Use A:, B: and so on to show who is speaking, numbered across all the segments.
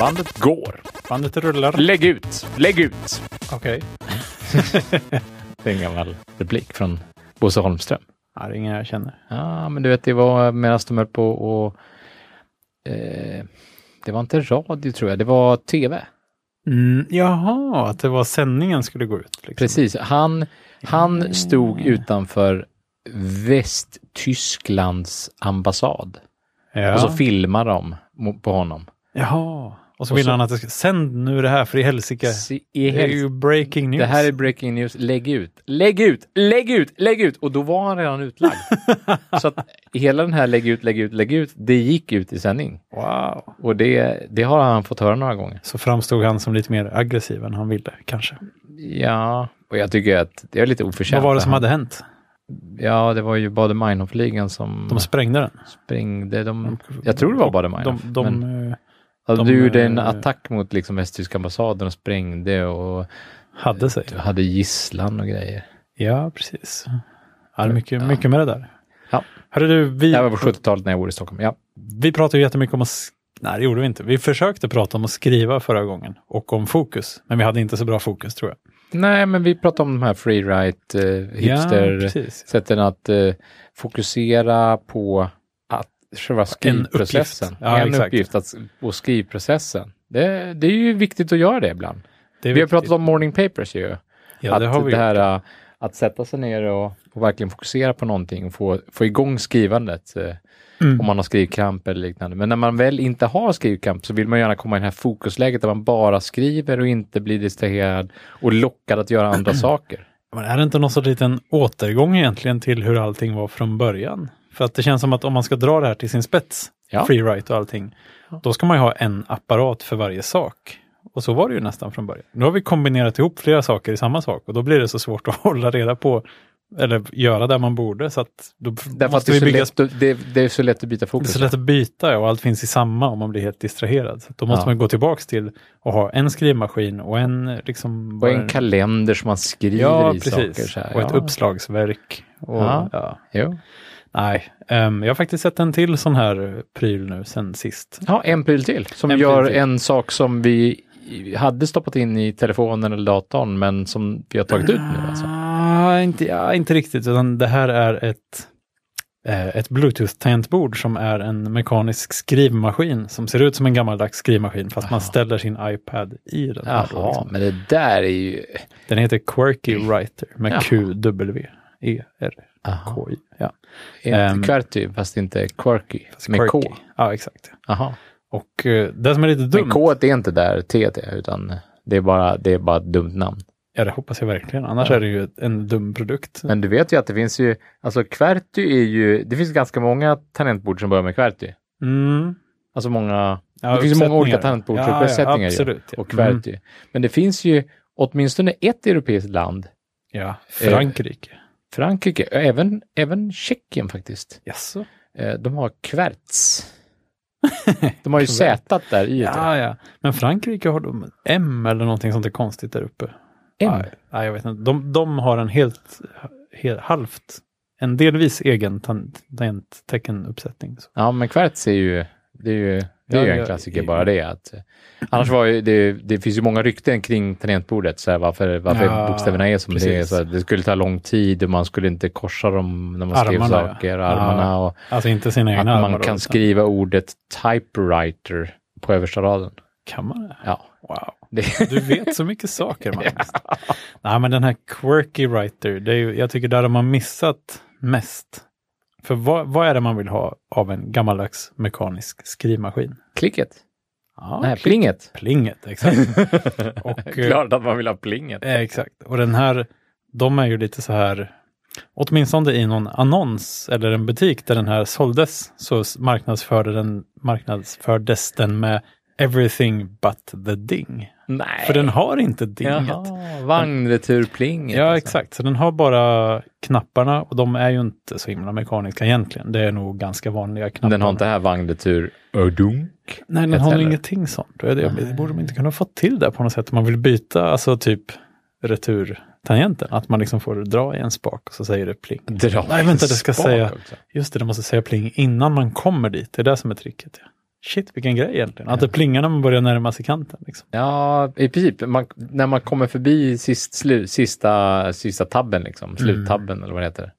A: Bandet går.
B: Bandet rullar.
A: Lägg ut! Lägg ut!
B: Okej.
A: Det är en gammal replik från Bosse Holmström.
B: Ja, det är ingen jag känner.
A: Ja, men du vet, det var medan de höll på och... Eh, det var inte radio tror jag, det var tv.
B: Mm, jaha, att det var sändningen skulle gå ut. Liksom.
A: Precis, han, han stod utanför Västtysklands ambassad
B: Ja.
A: och så filmade de mo- på honom.
B: jaha. Och så
A: Och
B: vill
A: så-
B: han att det ska, sänd nu det här för i helsike.
A: Se-
B: Det
A: i
B: är
A: hel-
B: ju breaking news.
A: Det här är breaking news. Lägg ut, lägg ut, lägg ut, lägg ut! Och då var han redan utlagd. så att hela den här lägg ut, lägg ut, lägg ut, det gick ut i sändning.
B: Wow.
A: Och det, det har han fått höra några gånger.
B: Så framstod han som lite mer aggressiv än han ville, kanske.
A: Ja, och jag tycker att det är lite oförtjänt.
B: Vad var det som
A: Han-
B: hade hänt?
A: Ja, det var ju Baader-Meinhof-ligan som
B: De sprängde den.
A: sprängde. De, jag tror det var Baader-Meinhof.
B: De, de,
A: men-
B: eh,
A: Ja,
B: de,
A: du gjorde en
B: eh,
A: attack mot liksom västtyska ambassaden och sprängde och
B: hade sig.
A: du hade gisslan och grejer.
B: Ja, precis. Ja, det är mycket, mycket med det där.
A: Ja.
B: Hörru du, vi,
A: Det här var på 70-talet när jag bodde i Stockholm. Ja,
B: vi pratade ju jättemycket om att... sk- Nej, det gjorde vi inte. Vi försökte prata om att skriva förra gången och om fokus, men vi hade inte så bra fokus tror jag.
A: Nej, men vi pratar om de här freeride, eh,
B: Ja,
A: hipster,
B: precis.
A: sätten att eh, fokusera på att själva skrivprocessen.
B: uppgift. Ja,
A: en
B: exakt.
A: uppgift att, och skrivprocessen. Det, det är ju viktigt att göra det ibland.
B: Det är
A: vi har
B: viktigt.
A: pratat om morning papers ju.
B: ja,
A: att
B: det har vi.
A: det här eh, att sätta sig ner och, och verkligen fokusera på någonting och få, få igång skrivandet. Eh,
B: Mm.
A: om man har skrivkramp eller liknande. Men när man väl inte har skrivkramp så vill man gärna komma i det här fokusläget där man bara skriver och inte blir distraherad och lockad att göra andra saker.
B: Men är det inte någon sorts liten återgång egentligen till hur allting var från början? För att det känns som att om man ska dra det här till sin spets,
A: Ja.
B: freeride och allting, då ska man ju ha en apparat för varje sak. Och så var det ju nästan från början. Nu har vi kombinerat ihop flera saker i samma sak och då blir det så svårt att hålla reda på eller göra där man borde så att då
A: Därför att
B: måste
A: det, är
B: vi
A: så
B: bygga
A: lätt, att- det, det är så lätt att byta
B: Det är
A: fokus.
B: så lätt att byta och allt finns i samma om man blir helt distraherad. Så då måste
A: Ja.
B: man gå tillbaks till och ha en skrivmaskin och en liksom...
A: Och
B: bara-
A: en kalender som man skriver
B: Ja,
A: i
B: precis.
A: saker. Så här.
B: Och ett
A: ja.
B: uppslagsverk. Och, ja.
A: Ja. Jo.
B: Nej, ehm, jag har faktiskt sett en till sån här pryl nu sen sist.
A: Ja, en pryl till som
B: En pryl
A: gör
B: till.
A: en sak som vi i- hade stoppat in i telefonen eller datorn men som vi har tagit ut nu. Alltså.
B: Ah, inte, ja, inte riktigt, utan det här är ett, eh, ett Bluetooth-tangentbord som är en mekanisk skrivmaskin som ser ut som en gammaldags skrivmaskin fast man ställer sin iPad i den. här då,
A: Jaha,
B: liksom.
A: men det där är ju...
B: Den heter Quirky Writer med E,
A: Jaha.
B: Q-W-E-R-K-I.
A: Aha.
B: Ja, Ehm.
A: Inte QWERTY fast inte QWERTY. Med K.
B: Quirky. Ja, exakt.
A: Aha.
B: Och eh, det som är lite dumt,
A: Men K är inte där T är utan det är, bara, det är bara ett dumt namn.
B: ja det hoppas jag verkligen, annars är det ju ett- en dum produkt.
A: Men du vet ju att det finns ju, alltså QWERTY är ju, det finns ganska många tangentbord som börjar med QWERTY.
B: Mm.
A: Alltså många,
B: Ja,
A: det finns ju många olika
B: uppsättningar.
A: tangentbordsuppsättningar
B: Ja,
A: ju,
B: absolut. ja. Mm.
A: och QWERTY. Men det finns ju åtminstone ett europeiskt land,
B: Ja,
A: Eh,
B: Frankrike.
A: Frankrike, även, även Tjeckien faktiskt.
B: Jaså?
A: Eh, De har QWERTS. De har ju Z där i. Ja,
B: Ja, ja. Men Frankrike har de M eller någonting sånt är konstigt där uppe.
A: M.
B: Nej, nej, jag vet inte. De, de har en helt, helt halvt, en delvis egen tan- tangentteckenuppsättning. Så.
A: Ja, men kvarts är ju, det är ju, det är
B: Ja,
A: ju en
B: ja,
A: klassiker
B: i-
A: bara det. Att, annars var ju, det, det finns ju många rykten kring tangentbordet, så här, varför, varför
B: Ja,
A: bokstäverna är som det är.
B: precis.
A: Så här, det skulle ta lång tid och man skulle inte korsa dem när man skrev
B: Armarna, ja.
A: saker,
B: Ja,
A: armarna. Och
B: Alltså inte sina
A: att
B: egna armar
A: man
B: då,
A: kan
B: utan-
A: skriva ordet typewriter på översta raden.
B: Kan man det?
A: Ja,
B: Wow.
A: det,
B: Du vet så mycket saker, Magnus. Nej, men den här quirky writer, det är ju, jag tycker där har man missat mest. För vad, vad är det man vill ha av en gammaldags mekanisk skrivmaskin?
A: klicket.
B: Ja,
A: Nej,
B: pl-
A: plinget.
B: plinget, exakt. Och, eh,
A: Klart att man vill ha plinget.
B: Eh, Exakt, och den här, de är ju lite så här, åtminstone i någon annons eller en butik där den här såldes, så s- marknadsförde den, marknadsfördes den med Everything but the ding.
A: Nej.
B: För den har inte dinget.
A: Jaha, vagnreturplinget.
B: Ja,
A: alltså.
B: exakt. Så den har bara knapparna och de är ju inte så himla mekaniska egentligen. Det är nog ganska vanliga knappar.
A: Den har inte här vagnretur. Ödunk.
B: Nej, den
A: ett
B: har nog
A: heller.
B: ingenting sånt. Det, är det, det borde de inte kunna få till där på något sätt. Om man vill byta, alltså typ returtangenten. Att man liksom får dra i en spak och så säger det pling.
A: Dra
B: Nej, vänta, det ska
A: spak alltså.
B: säga-
A: också.
B: Just det, det måste säga pling innan man kommer dit. Det är det som är tricket. Ja. Shit, vilken grej egentligen. Att det plingar när man börjar närma sig kanten. Liksom.
A: Ja, i princip. Man, när man kommer förbi sist, slu, sista, sista tabben,
B: Mm.
A: liksom. sluttabben eller vad det heter.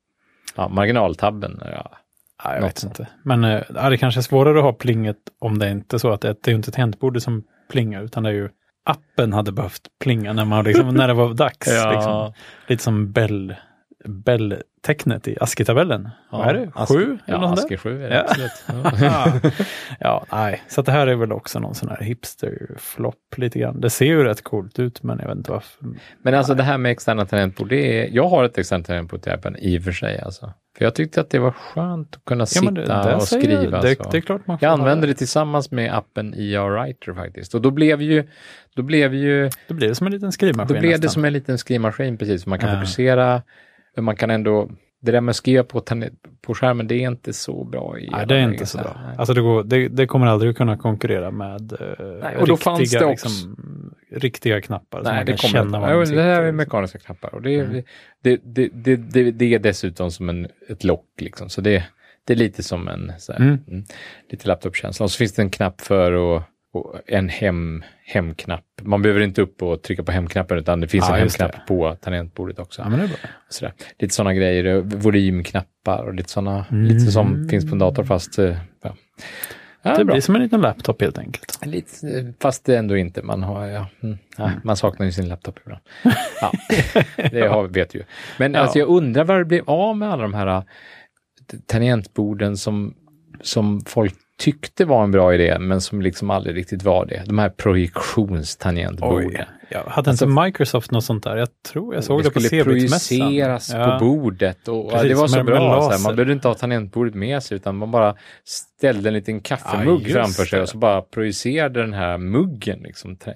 A: Ja, marginaltabben. Ja.
B: Ja, jag
A: Något
B: vet
A: sånt.
B: inte. Men eh, ja, det kanske är svårare att ha plinget om det är inte så att det, det är ju inte tangentbordet som plingar, utan det är ju appen hade behövt plinga när, man, liksom, när det var dags.
A: Ja.
B: Liksom. Lite som bell, bell-tecknet i ASCII-tabellen. Vad är det?
A: Ask-
B: Sju? eller
A: Ja,
B: något sånt där?
A: Asker 7 är det
B: Ja.
A: absolut. Ja.
B: ja, nej. Så att det här är väl också någon sån här hipster-flopp lite grann. Det ser ju rätt coolt ut, men jag vet inte varför.
A: Men alltså det här med externa tangentbord, det är, jag har ett externt tangentbord till iPaden i och för sig. Alltså. För jag tyckte att det var skönt att kunna sitta
B: där
A: och
B: säger jag-
A: skriva.
B: Det,
A: så.
B: det är klart man får
A: jag
B: ha
A: använde det tillsammans med appen IA Writer faktiskt. Och då blev ju, då blev ju,
B: Då blir det som en liten skrivmaskin
A: då blev det
B: nästan.
A: som en liten skrivmaskin precis. Man kan
B: Ja.
A: fokusera, men man kan ändå, det där med att skriva på, tange- på skärmen, det är inte så bra. I
B: Nej, det är
A: alla
B: inte så
A: lägen.
B: bra.
A: Nej.
B: Alltså det, går, det, det kommer aldrig att kunna konkurrera med eh, liksom,
A: och då fanns det också-
B: riktiga knappar. som
A: Nej,
B: man
A: det
B: kan
A: kommer
B: känna
A: inte.
B: var
A: Jo,
B: man Mm.
A: Det här är
B: sitter.
A: mekaniska knappar. Och det, är- det, det, det, det, det är dessutom som en, ett lock, liksom. så det, det är lite som en så här,
B: Mm.
A: mm, lite laptopkänsla. Och så finns det en knapp för och, och en hem, hemknapp. Man behöver inte upp och trycka på hemknappen, utan det finns
B: Ja,
A: en
B: just
A: hemknapp på tangentbordet också.
B: Ja, men det är bra.
A: Sådär. Lite sådana grejer, eh, volymknappar och lite sådana, lite som finns på en dator fast... eh, Ja. Ja,
B: det
A: bra.
B: blir som en liten laptop helt enkelt.
A: Lite, eh, fast det ändå inte. Man, har, ja, mm, ja, man saknar ju sin laptop ibland. Ja, det har, vet ju. Men
B: Ja.
A: alltså, jag undrar vad det blev av med alla de här eh, tangentborden som, som folk tyckte var en bra idé, men som liksom aldrig riktigt var det. De här projektionstangentborden.
B: Ja, hade inte Microsoft något sånt där? Jag tror jag såg
A: Alltså- Det skulle
B: det, på CBX-mässan.
A: projiceras
B: Ja.
A: på bordet och ja,
B: Precis,
A: det var så
B: med- med
A: bra. så här,
B: laser.
A: man behövde inte ha tangentbordet med sig utan man bara ställde en liten kaffemugg
B: Ja, just
A: framför sig
B: det.
A: och så bara projicerade den här muggen. Liksom. Ta-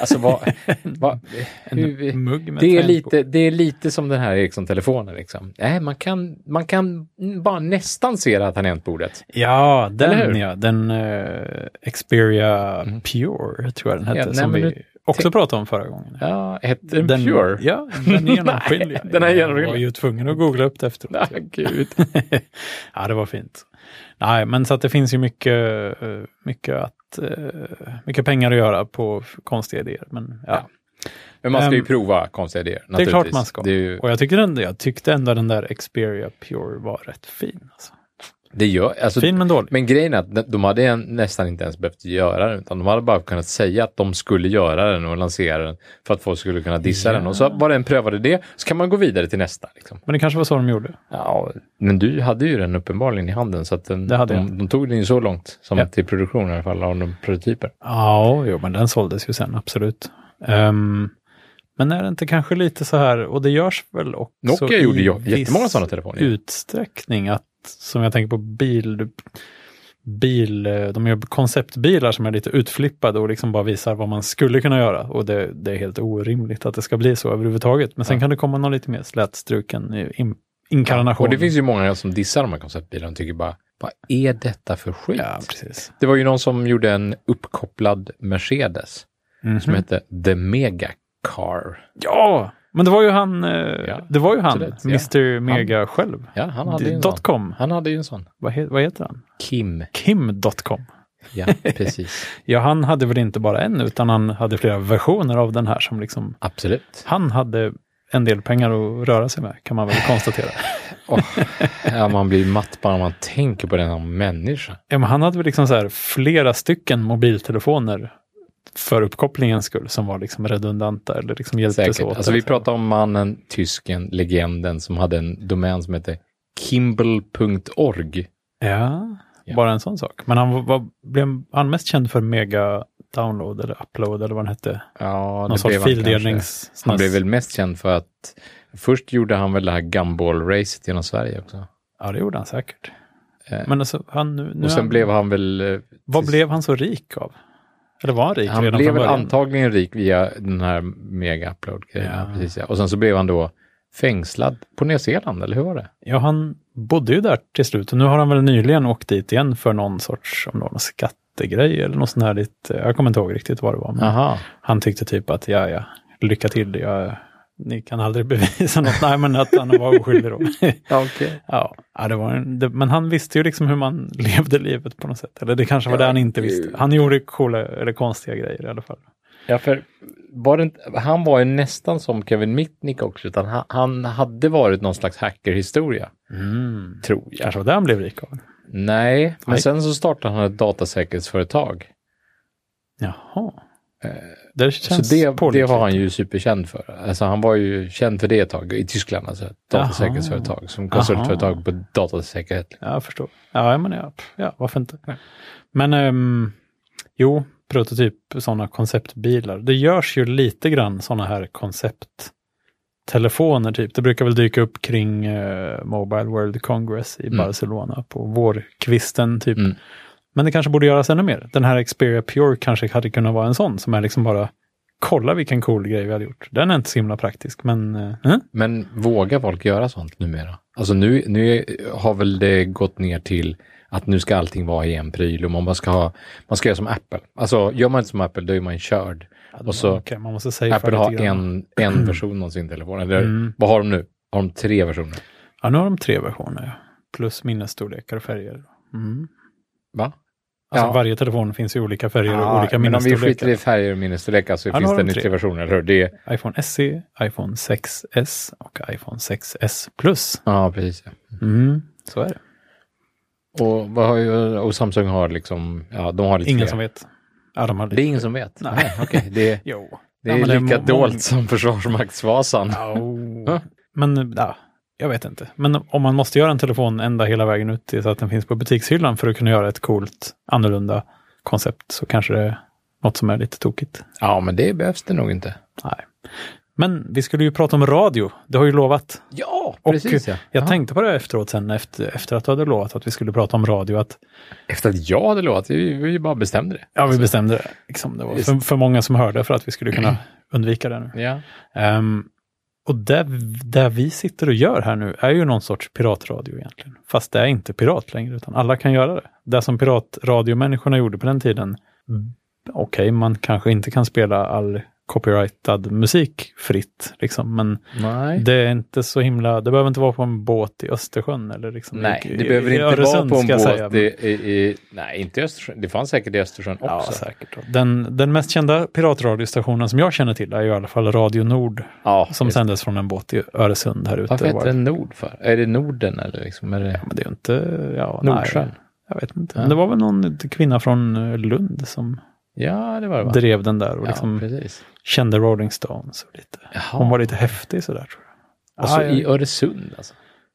A: Alltså vad... vad hur,
B: En mugg med
A: det, är
B: tangentbord.
A: lite, det är lite som den här Ericsson-telefonen. Liksom. Nej, man kan, man kan bara nästan se det här tangentbordet.
B: Ja,
A: Eller
B: den
A: hur? Mhm.
B: ja. Den eh, Xperia Pure tror jag den hette,
A: Ja, nej,
B: som
A: men
B: vi
A: nu-
B: också pratade om förra gången.
A: Ja, hette den, Pure?
B: Ja, den är genomskinliga.
A: Nej, den är genomskinlig.
B: Jag var ju tvungen att googla upp det efteråt.
A: Ja, gud.
B: ja, det var fint. Nej, men så att det finns ju mycket, eh, mycket, att, eh, mycket pengar att göra på f- konstiga idéer. Men, ja.
A: Men man ska ju
B: Ehm,
A: prova konstiga idéer.
B: det är klart
A: naturligtvis.
B: man ska.
A: Det, är ju,
B: Och jag, tycker ändå, jag tyckte ändå den där Xperia Pure var rätt fin. Alltså.
A: det gör, alltså,
B: Fin men dålig.
A: Men grejen är att de hade en- nästan inte ens behövt göra den, utan de hade bara kunnat säga att de skulle göra den och lansera den för att folk skulle kunna dissa
B: Ja.
A: den. Och så var det en prövade det, så kan man gå vidare till nästa. Liksom.
B: Men det kanske var så de gjorde.
A: Ja, men du hade ju den uppenbarligen i handen, så att den,
B: Det hade
A: de,
B: jag.
A: de tog den ju så långt som
B: Ja.
A: till produktion i alla fall, av de prototyper.
B: Ja, jo, men den såldes ju sen, absolut. Ehm, men är det inte kanske lite så här, och det görs väl också
A: Nokia
B: i
A: gjorde ju jättemånga
B: viss
A: sådana telefoner.
B: utsträckning att, som jag tänker på bil, bil, eh, de gör konceptbilar som är lite utflippade och liksom bara visar vad man skulle kunna göra och det, det är helt orimligt att det ska bli så överhuvudtaget. Men sen
A: Ja.
B: kan det komma någon lite mer slätstruken eh, in, inkarnation.
A: Och det finns ju många som dissar de här konceptbilarna och tycker bara, vad är detta för skit?
B: Ja, precis.
A: Det var ju någon som gjorde en uppkopplad Mercedes som
B: Mhm.
A: hette The Mega Car.
B: Ja, men det var ju han, eh,
A: Ja,
B: det var ju han,
A: absolut, ja.
B: Mr. Mega själv.
A: Ja, han hade ju en sån.
B: Dotcom,
A: Han hade ju en sån.
B: vad, he, vad heter han?
A: Kim.
B: Kim.com.
A: Ja, precis.
B: Ja, han hade väl inte bara en, utan han hade flera versioner av den här som liksom,
A: Absolut.
B: han hade en del pengar att röra sig med, kan man väl konstatera.
A: Ja, man blir matt bara man tänker på denna människa.
B: ja, men han hade väl liksom så här flera stycken mobiltelefoner för uppkopplingens skull, som var liksom redundanta eller liksom hjälptes
A: Säkert.
B: åt.
A: Alltså, vi pratar om mannen, tysken, legenden som hade en domän som hette kimball.org.
B: Ja,
A: Ja.
B: bara en sån sak. Men han var, var, blev han mest känd för mega download eller upload eller vad den hette?
A: Ja,
B: Någon sorts
A: han kanske.
B: fildelnings...
A: Han blev väl mest känd för att först gjorde han väl det här gumball-racet genom Sverige också.
B: Ja, det gjorde han säkert.
A: Eh,
B: Men alltså, han, nu, nu
A: Och sen
B: han,
A: blev han väl... eh,
B: vad
A: till-
B: blev han så rik av? Eller var han rik
A: Han
B: redan
A: blev
B: från
A: väl
B: början?
A: antagligen rik via den här mega-upload-grejen.
B: Ja.
A: Precis, ja. Och sen så blev han då fängslad på Nya Zeeland, eller hur var det?
B: Ja, han bodde ju där till slut. Och nu har han väl nyligen åkt dit igen för någon sorts, om det var någon skattegrej eller något sånt här. eh, Mm. Lite, jag kommer inte ihåg riktigt vad det var. Men
A: Aha.
B: han tyckte typ att, ja, ja, lycka till. Jag, ni kan aldrig bevisa något, nej men att han var oskyldig då.
A: Ja, okej.
B: ja, ja, det var en, det, men han visste ju liksom hur man levde livet på något sätt. Eller det kanske var
A: Ja,
B: det han inte
A: gud.
B: visste. Han gjorde coola eller konstiga grejer i alla fall.
A: Ja, för var det inte, han var ju nästan som Kevin Mitnick också, utan han, han hade varit någon slags hackerhistoria, tror jag.
B: Kanske var det han blev rik av.
A: Nej, men
B: Nej.
A: sen så startade han ett datasäkerhetsföretag.
B: Jaha. Det känns
A: så det, det
B: pålitligt.
A: var han ju superkänd för. Alltså han var ju känd för det ett tag i Tyskland, alltså ett
B: Jaha.
A: datasäkerhetsföretag, som konsultföretag
B: Jaha.
A: på datasäkerhet.
B: Ja, jag förstår. Ja, men ja, pff, ja varför inte? Men ehm, jo, prototyp sådana konceptbilar. Det görs ju lite grann sådana här koncepttelefoner typ. Det brukar väl dyka upp kring eh, Mobile World Congress i
A: Mm.
B: Barcelona på vårkvisten typ.
A: Mm.
B: Men det kanske borde göras ännu mer. Den här Xperia Pure kanske hade kunnat vara en sån som är liksom bara kolla vilken cool grej vi hade gjort. Den är inte så himla praktisk, men eh,
A: Men vågar folk göra sånt numera? Alltså nu, nu har väl det gått ner till att nu ska allting vara i en pryl och man bara ska ha, man ska göra som Apple. Alltså gör man inte som Apple, då är man körd. Och så-
B: okej, man måste säga
A: Apple har en, en version av sin telefon. Eller
B: Mm.
A: vad har de nu? Har de tre versioner?
B: Ja, nu har de tre versioner. ja. Plus minnesstorlekar och färger. Mm.
A: Va?
B: Alltså
A: Ja.
B: varje telefon finns ju olika färger och olika
A: men om vi
B: minnesstorlekar.
A: skiter i färger och minnesstorlekar så
B: Ja, då
A: finns
B: har de
A: den i
B: tre.
A: tre versioner, eller hur? Det är,
B: iPhone SE, iPhone 6S och iPhone 6S Plus.
A: ja, precis.
B: Mm. Så är det.
A: Och, vad har, ju- och Samsung har liksom, ja, de har lite
B: Ingen
A: fler.
B: som vet. Ja, de har
A: Det är
B: lite.
A: ingen som vet?
B: Nej.
A: Nej, okej. Det,
B: Jo.
A: det
B: Ja,
A: är
B: men det
A: lika
B: är må- många-
A: dolt som Försvarsmaktsvasan.
B: Ja. Men ja, jag vet inte. Men om man måste göra en telefon ända hela vägen ut till så att den finns på butikshyllan för att kunna göra ett coolt, annorlunda koncept så kanske det är något som är lite tokigt.
A: Ja, men det behövs det nog inte.
B: Nej. Men vi skulle ju prata om radio. Det har ju lovat.
A: Ja,
B: Och
A: precis ja.
B: Jag
A: Ja.
B: tänkte på det efteråt sen efter, efter att du hade lovat att vi skulle prata om radio. Att,
A: Efter att jag hade lovat, vi, vi bara bestämde det.
B: ja, vi bestämde det. Liksom, det var
A: Just.
B: för, för många som hörde för att vi skulle kunna undvika det nu.
A: Ja.
B: Ehm, och där, där vi sitter och gör här nu är ju någon sorts piratradio egentligen. Fast det är inte pirat längre, utan alla kan göra det. Det som piratradiomänniskorna gjorde på den tiden, okej, man kanske inte kan spela all copyrightad musik fritt, liksom, men
A: Nej.
B: Det är inte så himla, det behöver inte vara på en båt i Östersjön eller liksom
A: Nej,
B: i,
A: det behöver
B: i
A: inte vara
B: Öresund,
A: på en
B: ska jag
A: båt
B: säga.
A: i, i, i... Nej, inte i Östersjön. Det fanns säkert i Östersjön
B: Ja,
A: också.
B: säkert. Den, den mest kända piratradiostationen som jag känner till är ju i alla fall Radio Nord
A: Ja,
B: som
A: just-
B: sändes från en båt i Öresund här ute.
A: Varför
B: Var-
A: heter den Nord för? Är det Norden eller liksom? Är det
B: Men det är ju inte, ja,
A: Nordsjön?
B: Nej, jag vet inte.
A: Ja.
B: Men det var väl någon kvinna från eh, Lund som
A: Ja, det var det va?
B: drev den där och
A: Ja,
B: liksom
A: precis.
B: kände Rolling Stones. Och lite.
A: Jaha.
B: Hon var lite häftig sådär tror jag.
A: Alltså
B: Ah, ja,
A: i
B: ja.
A: Öresund alltså.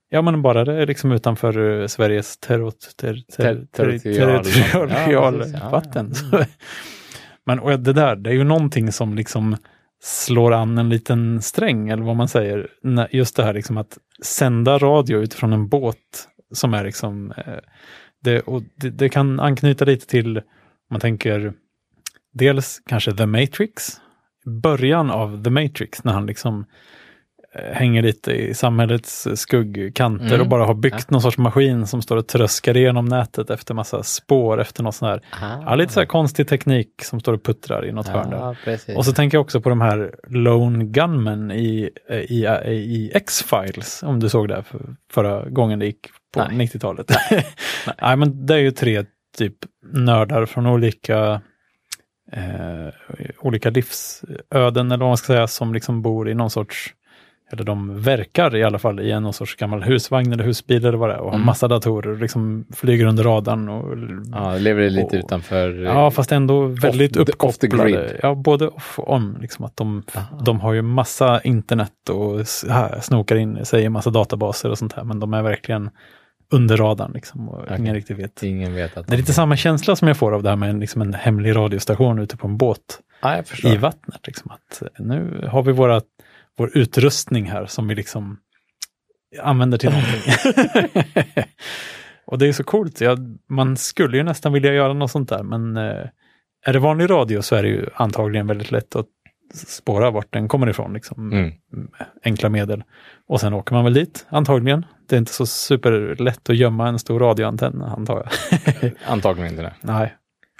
B: Ja, men bara det är liksom utanför eh, Sveriges terrot- ter- ter-
A: Ter-
B: ter-
A: territorial- Ja, precis. Ja, Mm.
B: territorialvatten.
A: ja.
B: Så- Men och det där, det är ju någonting som liksom slår an en liten sträng, eller vad man säger. När- Just det här liksom att sända radio utifrån en båt som är liksom... eh, Det, och det, det kan anknyta lite till, om man tänker, dels kanske The Matrix, början av The Matrix när han liksom eh, hänger lite i samhällets eh, skuggkanter
A: Mm.
B: och bara har byggt någon sorts maskin som står och tröskar igenom nätet efter massa spår efter något sån här, Ah. ja, lite så här konstig teknik som står och puttrar i något hörn där.
A: Ja, precis.
B: Och så tänker jag också på de här Lone Gunmen i, eh, i, eh, i X-Files, om du såg det här för, förra gången det gick på
A: Nej.
B: 90-talet. Nej. men det är ju tre typ nördar från olika eh, olika livsöden eller vad man ska säga, som liksom bor i någon sorts, eller de verkar i alla fall i en någon sorts gammal husvagn eller husbil eller vad det är och har
A: Mm.
B: massa datorer och liksom flyger under radarn och
A: ja, lever det lite
B: Och-
A: utanför... eh,
B: Ja, fast ändå väldigt
A: off the- off the
B: uppkopplade.
A: grid.
B: Ja, både off och on. Liksom att de,
A: Aha.
B: de har ju massa internet och s- här, snokar in sig i massa databaser och sånt här, men de är verkligen under radarn liksom, och
A: Okej.
B: ingen riktigt vet.
A: Ingen vet att...
B: Det är lite samma känsla som jag får av det här med en, liksom en hemlig radiostation ute på en båt
A: Ja, jag förstår.
B: i vattnet. Liksom, att nu har vi våra, vår utrustning här som vi liksom använder till någonting. och det är så coolt. Jag, man skulle ju nästan vilja göra något sånt där, men eh, är det vanlig radio så är det ju antagligen väldigt lätt att spåra vart den kommer ifrån, liksom,
A: Mm.
B: enkla medel. Och sen åker man väl dit, antagligen. Det är inte så superlätt att gömma en stor radioantenn, antar jag.
A: Antagligen inte det.
B: Nej.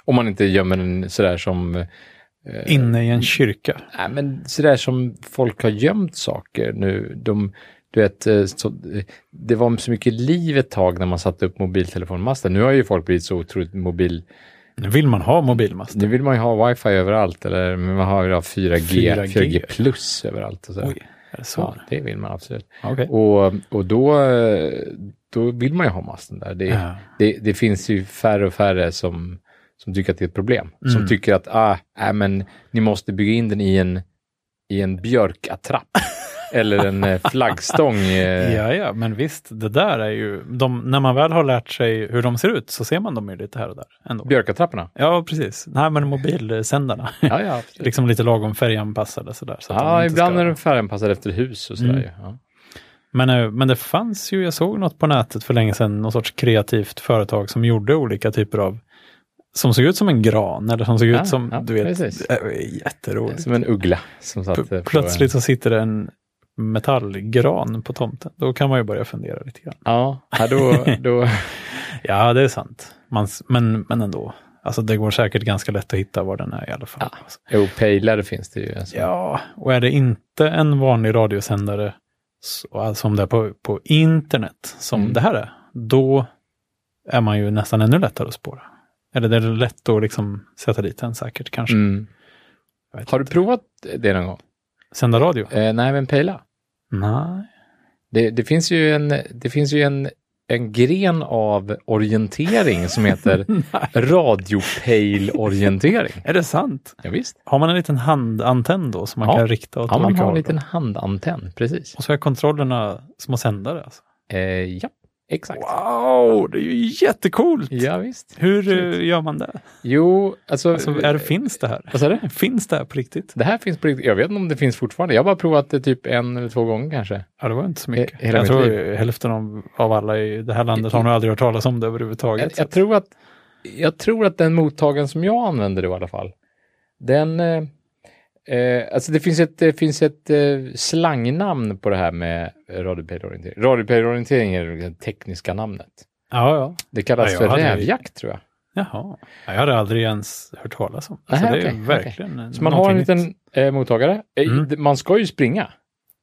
A: Om man inte gömmer den sådär som eh,
B: Inne i en kyrka.
A: Nej, men sådär som folk har gömt saker nu. De, du vet, eh, så, eh, det var så mycket liv ett tag när man satte upp mobiltelefonmaster. Nu har ju folk blivit så otroligt mobil.
B: Nu vill man ha mobilmast.
A: Nu vill man ju ha wifi överallt eller man har ju då 4G, 4G.
B: 4G.
A: plus överallt. Och så.
B: Oj, är det så?
A: Ja, det vill man absolut.
B: Okej.
A: Och, och då, eh, då vill man ju ha masten där. Det,
B: Ja.
A: det, det finns ju färre och färre som, som tycker att det är ett problem. Som tycker att ah, äh, men, ni måste bygga in den i en, i en björkattrapp eller en eh, flaggstång. eh.
B: Ja, ja, men visst, det där är ju, de, när man väl har lärt sig hur de ser ut så ser man dem ju lite här och där ändå.
A: Björkattrapporna?
B: Ja, precis. Nej, men mobilsändarna.
A: Ja, ja. absolut.
B: liksom lite lagom färganpassade sådär. Så att de
A: ja
B: inte
A: ibland
B: ska-
A: är de färganpassade efter hus och sådär.
B: Mm.
A: ju. Ja.
B: Men, eh, men det fanns ju, jag såg något på nätet för länge sedan, någon sorts kreativt företag som gjorde olika typer av, som såg ut som en gran eller som såg
A: Ja,
B: ut som,
A: ja,
B: du vet,
A: precis.
B: det är jätteroligt.
A: Som en uggla som satt eh,
B: P-
A: på
B: Plötsligt så sitter det en metallgran på tomten. Då kan man ju börja fundera lite grann.
A: En, ja, ja, då, då,
B: Ja, det är sant. Man, s- men, men ändå. Alltså det går säkert ganska lätt att hitta var den är i alla fall. Ja,
A: jo, pejlare finns det ju. Alltså.
B: ja och är det inte en vanlig radiosändare, så- alltså om det är på, på internet, som
A: Mm.
B: det här är, då är man ju nästan ännu lättare att spåra. Eller det är lätt att liksom sätta dit den säkert kanske.
A: Mm.
B: Jag vet
A: Har du
B: inte.
A: provat det någon gång?
B: Sända radio?
A: Eh, nej, men pejla.
B: Nej.
A: Det, det finns ju, en, det finns ju en, en gren av orientering som heter
B: Nej.
A: radiopejlorientering.
B: Är det sant?
A: Ja, visst.
B: Har man en liten handantenn då som man
A: Ja.
B: kan rikta åt
A: Ja, man
B: olika
A: har en
B: håll?
A: liten handantenn, precis.
B: Och så är kontrollerna små sändare alltså?
A: Eh, ja, exakt.
B: Wow, det är ju jättecoolt!
A: Ja, visst.
B: Hur eh,
A: Absolut.
B: gör man det?
A: Jo, alltså...
B: Alltså, är, finns det här?
A: Vad sa du?
B: Finns det här på riktigt?
A: Det här finns på riktigt. Jag vet inte om det finns fortfarande. Jag har bara provat det typ en eller två gånger kanske.
B: Ja, det var inte så
A: Eh,
B: mycket.
A: hela
B: jag
A: mitt
B: tror
A: liv.
B: hälften av, av alla i det här landet har nog aldrig hört talas om det
A: Jag,
B: överhuvudtaget.
A: jag, tror att, jag tror att den mottagaren som jag använder i alla fall, den... eh, Eh, alltså det finns ett, det finns ett eh, slangnamn på det här med radiopejlorientering. Radiopejlorientering är det tekniska namnet.
B: Ja, ja.
A: Det kallas
B: Ja, jag
A: för
B: hade-
A: rävjakt tror jag.
B: Jaha. Ja, jag hade aldrig ens hört talas om. Alltså,
A: Nej,
B: det är
A: okej,
B: verkligen
A: Så man har en
B: någonting
A: liten
B: nytt.
A: eh, mottagare. Eh,
B: Mm.
A: d- Man ska ju springa.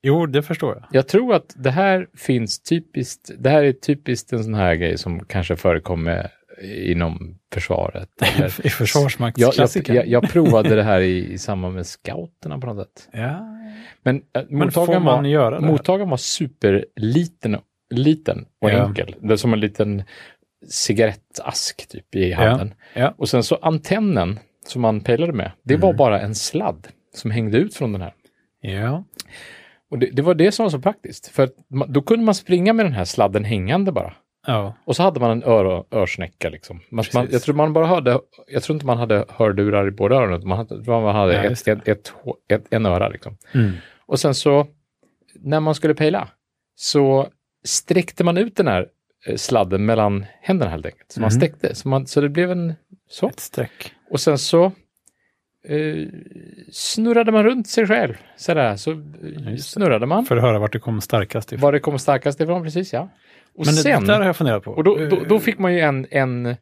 B: Jo, det förstår jag.
A: Jag tror att det här finns typiskt, det här är typiskt en sån här grej som kanske förekommer inom försvaret. Eller,
B: I
A: jag, jag,
B: Försvarsmaktsklassikern.
A: jag, jag provade det här i, i samband med scouterna på något sätt.
B: ja.
A: Men, eh,
B: Men får
A: mottagaren,
B: man
A: var,
B: göra det? här?
A: mottagaren var superliten liten och
B: Ja.
A: enkel. Det är som en liten cigarettask typ i handen.
B: Ja. Mm.
A: Och sen så antennen som man pejlade med, det var bara en sladd som hängde ut från den här.
B: Ja.
A: Och det, det var det som var så praktiskt, för att man, då kunde man springa med den här sladden hängande bara.
B: ja.
A: Och så hade man en ör, örsnäcka liksom. Man, man,
B: Precis.
A: jag tror man bara hörde, jag tror inte man hade hörlurar i båda öronen, utan man hade, jag tror man hade
B: Ja, just
A: ett, ett, ett, hå- ett, en öra liksom.
B: Mm.
A: Och sen så, när man skulle pejla, så sträckte man ut den här eh, sladden mellan händerna helt enkelt. Så man
B: Mm.
A: sträckte, så, man, så det blev en så.
B: Ett streck.
A: Och sen så eh, snurrade man runt sig själv, sådär, så eh,
B: det.
A: snurrade man.
B: För att höra vart det kom starkast ifrån.
A: Var det kom starkast ifrån, precis ja. Och
B: Men
A: sen,
B: det där har jag funderat på.
A: och då, då, då fick man ju en, en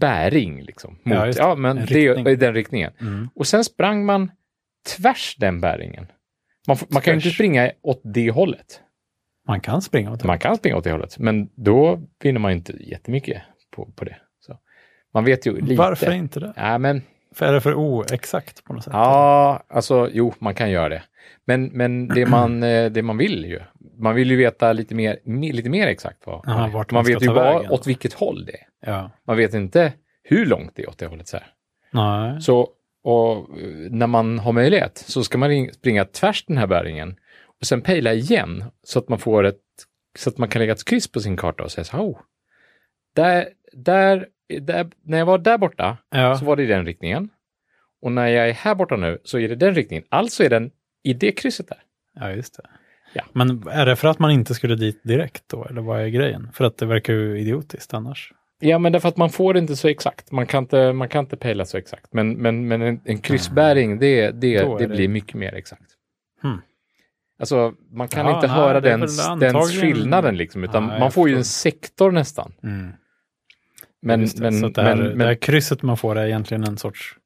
A: bäring liksom. Mot,
B: Eh. Ja,
A: ja,
B: just det.
A: men
B: En
A: det är
B: riktning.
A: i den riktningen.
B: Mm.
A: Och sen sprang man tvärs den bäringen. Man, får- man kan ju inte
B: Tvärs.
A: springa åt det hållet.
B: Man kan springa åt det.
A: Man kan springa åt det hållet, men då vinner man ju inte jättemycket på, på det. Så. Man vet ju lite.
B: Varför inte det?
A: Nej, men
B: För är det för oexakt på något sätt?
A: Ja, alltså jo, man kan göra det. Men, men det, man, eh, det man vill ju, man vill ju veta lite mer, me- lite mer exakt vad
B: Aha, vart
A: man
B: man ska
A: vet ju
B: ta
A: bara
B: vägen.
A: åt vilket håll det är.
B: ja.
A: Man vet inte hur långt det är åt det hållet. Så, här.
B: Nej.
A: så och, eh, när man har möjlighet så ska man ring- springa tvärs den här bäringen och sen pejla igen så att man får ett, så att man kan lägga ett kryss på sin karta och säga så här, oh, där, där, där, när jag var där borta
B: Ja.
A: så var det i den riktningen. Och när jag är här borta nu så är det den riktningen. Alltså är den i det krysset där.
B: ja, just det.
A: Ja.
B: Men är det för att man inte skulle dit direkt då? Eller vad är grejen? För att det verkar ju idiotiskt annars.
A: Ja, men därför att man får det inte så exakt. Man kan inte, man kan inte pejla så exakt. Men, men, men en, en kryssbäring, det, det,
B: Mm. Då är
A: det,
B: det-
A: blir mycket mer exakt.
B: Hmm.
A: Alltså, man kan
B: Ja,
A: inte
B: nej,
A: höra
B: det är
A: den,
B: väl
A: den
B: antagligen-
A: skillnaden, liksom, utan
B: Ja, jag
A: man får ju
B: förstår.
A: en sektor nästan. Men,
B: Just det.
A: men,
B: så att det, här,
A: men,
B: det här
A: men
B: krysset man får är egentligen en sorts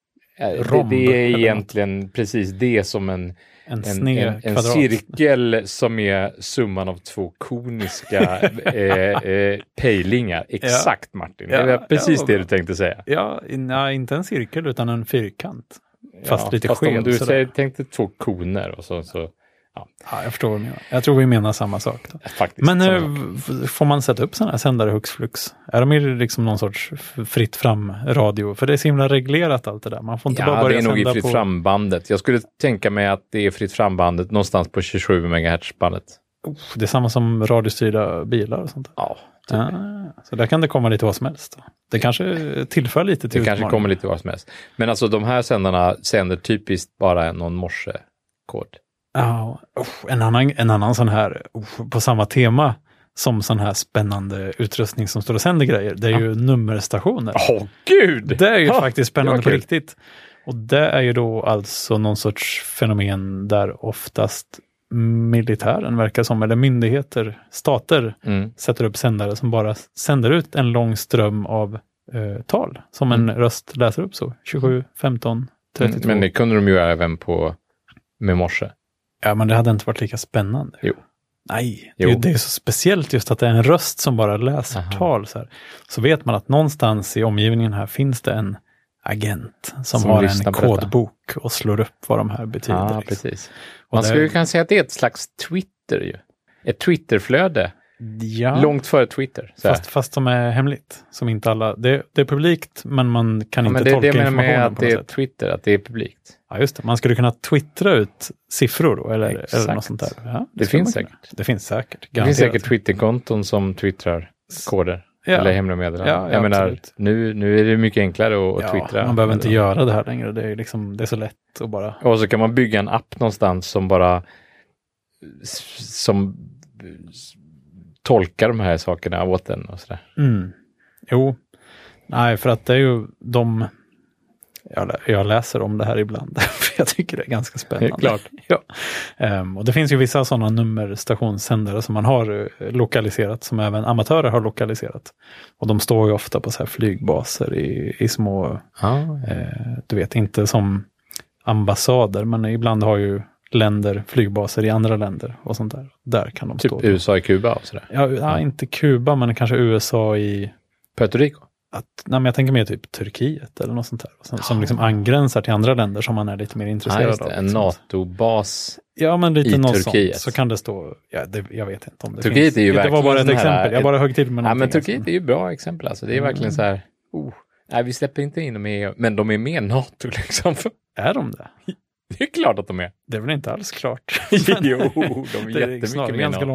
A: Eh, Det,
B: Romb
A: det är
B: eller
A: egentligen precis det som en,
B: En
A: en,
B: sned
A: en, en
B: kvadrat.
A: cirkel som är summan av två koniska eh, eh, pejlingar. Exakt Martin,
B: Ja,
A: det var precis
B: ja,
A: det
B: bra.
A: du tänkte säga.
B: Ja, in, ja, inte en cirkel utan en fyrkant. Fast
A: Ja,
B: lite
A: fast om
B: skev.
A: du
B: sådär.
A: säger, tänkte två koner och så, så
B: Ja, jag förstår vad du menar. Jag tror vi menar samma sak. Då.
A: faktiskt.
B: Men
A: samma
B: eh,
A: sak.
B: f- får man sätta upp sådana här sändare hux flux? Är de ju liksom någon sorts f- fritt fram-radio? För det är så himla reglerat allt det där. Man får inte bara
A: Ja, det
B: börja
A: är nog i
B: sända
A: fritt
B: på...
A: frambandet. Jag skulle tänka mig att det är fritt frambandet någonstans på 27 MHz-bandet.
B: Oh, det är samma som radiostyrda bilar och sånt där.
A: Ja,
B: Ah, så där kan det komma lite vad som helst. Då. Det kanske tillför lite
A: det
B: till
A: kanske
B: utmaningen.
A: kommer lite vad som helst. Men alltså de här sändarna sänder typiskt bara någon morsekod.
B: Ja, usch, en, annan, en annan sån här, usch, på samma tema som sån här spännande utrustning som står och sänder grejer, det är ju nummerstationer.
A: Åh gud!
B: Det är ju
A: Ja,
B: faktiskt spännande
A: det var
B: på
A: kul.
B: riktigt. Och det är ju då alltså någon sorts fenomen där oftast militären verkar som, eller myndigheter, stater,
A: Mm.
B: sätter upp sändare som bara sänder ut en lång ström av eh, tal som en röst läser upp så. 27, 15, 32.
A: Mm. Men det kunde de ju göra även på med morse.
B: Ja, men det hade inte varit lika spännande.
A: Jo.
B: Nej,
A: Jo.
B: Det, det är så speciellt just att det är en röst som bara läser
A: Aha.
B: tal. Så, här. så vet man att någonstans i omgivningen här finns det en agent som,
A: Som
B: har
A: lyssnar
B: en
A: på detta.
B: kodbok och slår upp vad de här betyder.
A: Ja,
B: liksom.
A: precis.
B: Och
A: Man
B: det-
A: skulle ju kunna säga att det är ett slags Twitter ju. Ett Twitterflöde.
B: ja,
A: Långt före Twitter. Så här.
B: fast, fast som är hemligt. Som inte alla, det, det är publikt, men man kan
A: ja, men
B: inte
A: det är det
B: tolka
A: jag menar med att
B: informationen på något
A: det är
B: sätt.
A: Twitter, att det är publikt.
B: Ja, just det. Man skulle kunna twittra ut siffror då, eller, eller något
A: Exakt.
B: sånt där. Ja,
A: Det
B: skulle
A: finns
B: man kunna.
A: säkert.
B: Det finns säkert.
A: Det finns
B: garanterat.
A: säkert Twitterkonton som twittrar koder.
B: Ja.
A: Eller hemliga meddelanden.
B: Ja, ja,
A: jag menar,
B: absolut.
A: nu, nu är det mycket enklare att, att twittra.
B: Man behöver inte göra det här längre. Det är, liksom, det är så lätt att bara...
A: Och så kan man bygga en app någonstans som bara s- som s- tolkar de här sakerna åt en och sådär.
B: Mm. Jo, nej, för att det är ju de... Jag, lä- jag läser om det här ibland, för jag tycker det är ganska spännande.
A: klart.
B: Ja. Ehm, och det finns ju vissa sådana nummerstationssändare som man har eh, lokaliserat, som även amatörer har lokaliserat. Och de står ju ofta på så här flygbaser i, i små
A: Ja,
B: Eh, du vet, inte som ambassader, men ibland har ju länder flygbaser i andra länder och sånt där. Där kan de
A: typ
B: stå.
A: USA i Kuba och sådär.
B: Ja, ja, inte Kuba, men kanske USA i...
A: Puerto Rico.
B: Att, nej, men jag tänker mer typ Turkiet eller något sånt där. Som, som liksom angränsar till andra länder som man är lite mer
A: Ja,
B: intresserad
A: just det.
B: av.
A: En
B: liksom.
A: NATO-bas.
B: Ja, men
A: i
B: lite något
A: Turkiet.
B: sånt. Så kan det stå... Ja, det, jag vet inte om det
A: Turkiet
B: finns.
A: är ju
B: det var
A: verkligen
B: bara ett
A: sån här-
B: exempel. Jag bara högg till med
A: Ja, men
B: någonting,
A: Turkiet
B: alltså. Mm.
A: är ju bra exempel alltså. Det är verkligen så här, oh, nej vi släpper inte in dem i EU, men de är med i NATO liksom.
B: Är de det?
A: Det är klart att de är.
B: Det är väl inte alls klart.
A: Jo, de är
B: Det är
A: jättemycket
B: snarare
A: med i
B: ganska
A: NATO.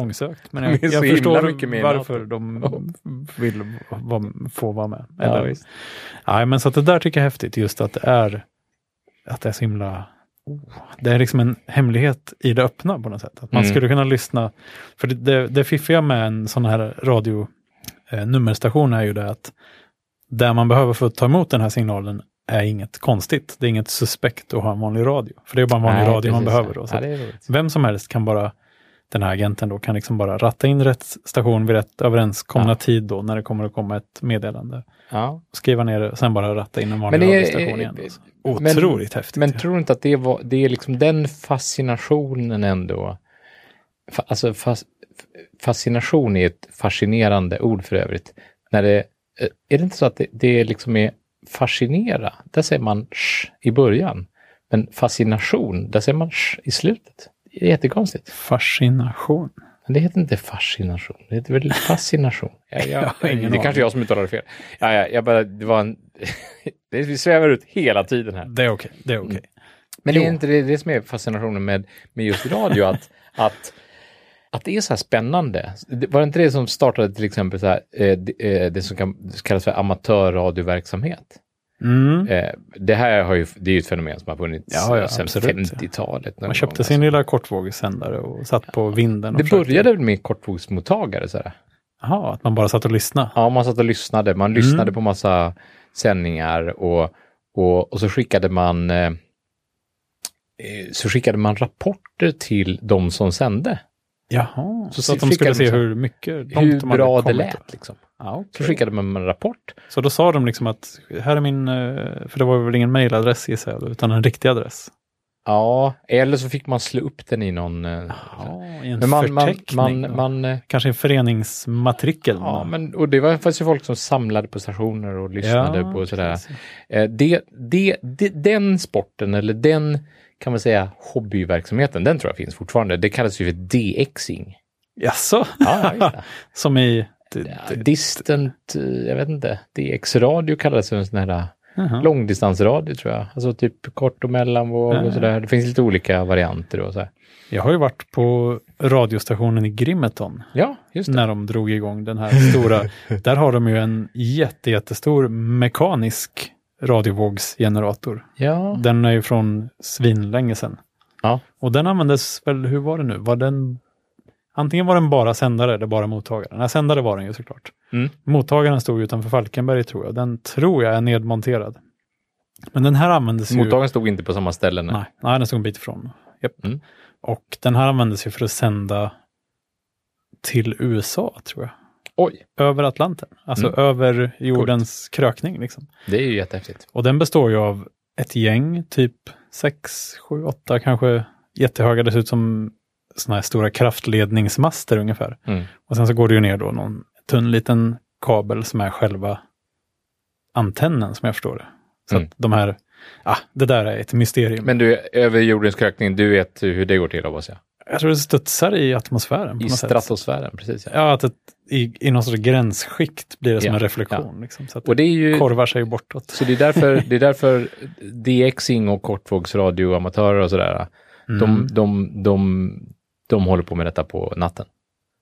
B: långsökt. Men
A: De
B: jag,
A: är så
B: jag
A: himla
B: förstår
A: mycket med i
B: varför
A: NATO.
B: de vill va- få vara med.
A: Ja,
B: Eller,
A: visst.
B: nej, men så att det där tycker jag är häftigt, just att det är, att det är så himla... Oh, det är liksom en hemlighet i det öppna på något sätt. Att man
A: Mm.
B: skulle kunna lyssna. För det, det, det fiffiga med en sån här radio eh, nummerstation är ju det att där man behöver för att ta emot den här signalen är inget konstigt. Det är inget suspekt att ha en vanlig radio. För det är bara en vanlig
A: Nej,
B: radio man
A: precis.
B: behöver. Då, så
A: ja,
B: att-
A: det är roligt.
B: vem som helst kan bara, den här agenten då, kan liksom bara ratta in rätt station vid rätt överenskomna
A: Ja.
B: tid då, när det kommer att komma ett meddelande.
A: Ja.
B: Skriva ner det och sen bara ratta in en vanlig
A: Men det är-
B: radiostation igen.
A: eh,
B: Alltså.
A: men-
B: Otroligt häftigt.
A: Men
B: ju.
A: tror du inte att det, var, det är liksom den fascinationen ändå? Fa, alltså fas, fascination är ett fascinerande ord för övrigt. När det, eh, är det inte så att det, det liksom är fascinera? Där säger man sh i början. Men fascination, där säger man sh i slutet. Det är jättekonstigt.
B: Fascination.
A: Men det heter inte fascination, det heter väl fascination? Ja, ja,
B: Jag har ingen
A: det är kanske
B: aning.
A: jag som uttalar det fel. Ja, ja, jag bara, det var en... Vi svävar ut hela tiden här.
B: Det är okej. Det är okej.
A: Men det är
B: Jo.
A: inte det, det som är fascinationen med, med just radio, att, att, att det är så här spännande. Det- Var det inte det som startade till exempel så här, eh, det, eh, det som kan, kallas för amatörradioverksamhet?
B: Mm.
A: Eh, det här har ju, det är ju ett fenomen som har funnits
B: Ja, ja,
A: sedan
B: absolut, ja.
A: 50-talet. någon
B: Man köpte
A: gång,
B: sin lilla kortvågssändare och satt på vinden. Och
A: alltså. Det
B: försökte-
A: började väl med kortvågsmottagare? Så här.
B: Jaha, att man bara satt och lyssnade.
A: Ja, man satt och lyssnade.
B: Mm.
A: Man lyssnade på massa sändningar och, och, och så skickade man eh, eh, så skickade man rapporter till de som sände.
B: Jaha, så,
A: Så
B: att de
A: fick
B: skulle
A: jag
B: se
A: liksom-
B: hur mycket långt
A: hur
B: de hade
A: bra det
B: kommit.
A: lät. Liksom.
B: Ah,
A: Så
B: okay.
A: skickade man en rapport.
B: Så då sa de liksom att här är min, eh, för det var väl ingen mailadress gissar jag, utan en riktig adress.
A: Ja, eller så fick man slå upp den i någon... eh,
B: i Ah, en
A: men man, man,
B: förteckning.
A: man, man, eh,
B: Kanske en föreningsmatrikel.
A: ja, men, och det var fanns ju folk som samlade på stationer och lyssnade
B: Ja,
A: på sådär.
B: precis.
A: Eh, Det, det, det, den sporten, eller den kan man säga hobbyverksamheten, den tror jag finns fortfarande. Det kallas ju för DXing.
B: Jaså?
A: Ja, just det.
B: Som i... d-
A: Ja,
B: d-
A: distant, eh, jag vet inte, DX-radio kallades en sån här eh,
B: Jaha.
A: långdistansradio tror jag. Alltså typ kort och mellanvåg
B: Ja.
A: och sådär. Det finns lite olika varianter och så här.
B: Jag har ju varit på radiostationen i Grimeton
A: Ja, just det.
B: när de drog igång den här stora. där har de ju en jätte, jättestor mekanisk radiovågsgenerator.
A: Ja,
B: Den är ju från svinlänge sedan.
A: Ja.
B: Och den användes väl, hur var det nu? Var den, antingen var den bara sändare eller bara mottagare. Nej, sändare var den ju såklart.
A: Mm.
B: Mottagaren stod ju utanför Falkenberg tror jag. Den tror jag är nedmonterad. Men den här användes ju...
A: mottagaren stod inte på samma ställe. Nej.
B: Mm. Nej, nej den stod en bit ifrån. Japp.
A: Mm.
B: Och den här användes ju för att sända till USA, tror jag.
A: Oj,
B: Över Atlanten, alltså
A: Mm.
B: över jordens krökning. Liksom.
A: det är ju jättehäftigt.
B: Och den består ju av ett gäng, typ sex, sju, åtta kanske jättehöga. Det ser ut som sådana här stora kraftledningsmaster ungefär.
A: Mm.
B: Och sen så går det ju ner då någon tunn liten kabel som är själva antennen som jag förstår det. Så
A: Mm.
B: att de här, ah, det där är ett mysterium.
A: Men du, över jordens krökning, du vet hur det går till hoppas jag.
B: Jag tror det studsar i atmosfären på
A: I
B: något sätt.
A: stratosfären, precis. Ja.
B: Ja, att ett, i, i någon sorts gränsskikt blir det som
A: Ja,
B: en reflektion. Liksom, så att
A: Och det är ju...
B: det korvar sig bortåt.
A: Så det är därför, det är därför DXing och kortvågsradioamatörer och sådär,
B: Mm.
A: de, de, de, de håller på med detta på natten.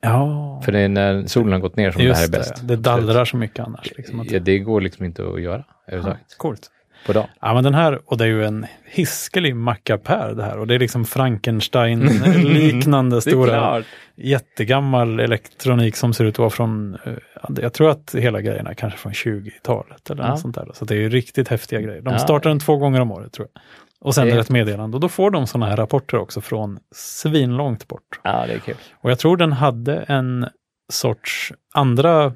B: ja,
A: För det är när solen har gått ner som det här är
B: just det.
A: bäst.
B: Det dallrar så mycket annars. Liksom, att,
A: Ja, det går liksom inte att göra överhuvudtaget
B: coolt.
A: på dagen.
B: Ja, men den här, och det är ju en hiskelig mackapär det här. Och det är liksom Frankenstein-liknande stora, jättegammal elektronik som ser ut att vara från, eh, jag tror att hela grejen är kanske från 20-talet eller
A: Ja.
B: något sånt där. Så det är ju riktigt häftiga grejer. De
A: Ja.
B: startar den två gånger om året tror jag. Och sen
A: Det-
B: är det ett meddelande och då får de sådana här rapporter också från svinlångt bort.
A: Ja, det är kul.
B: Och jag tror den hade en sorts andra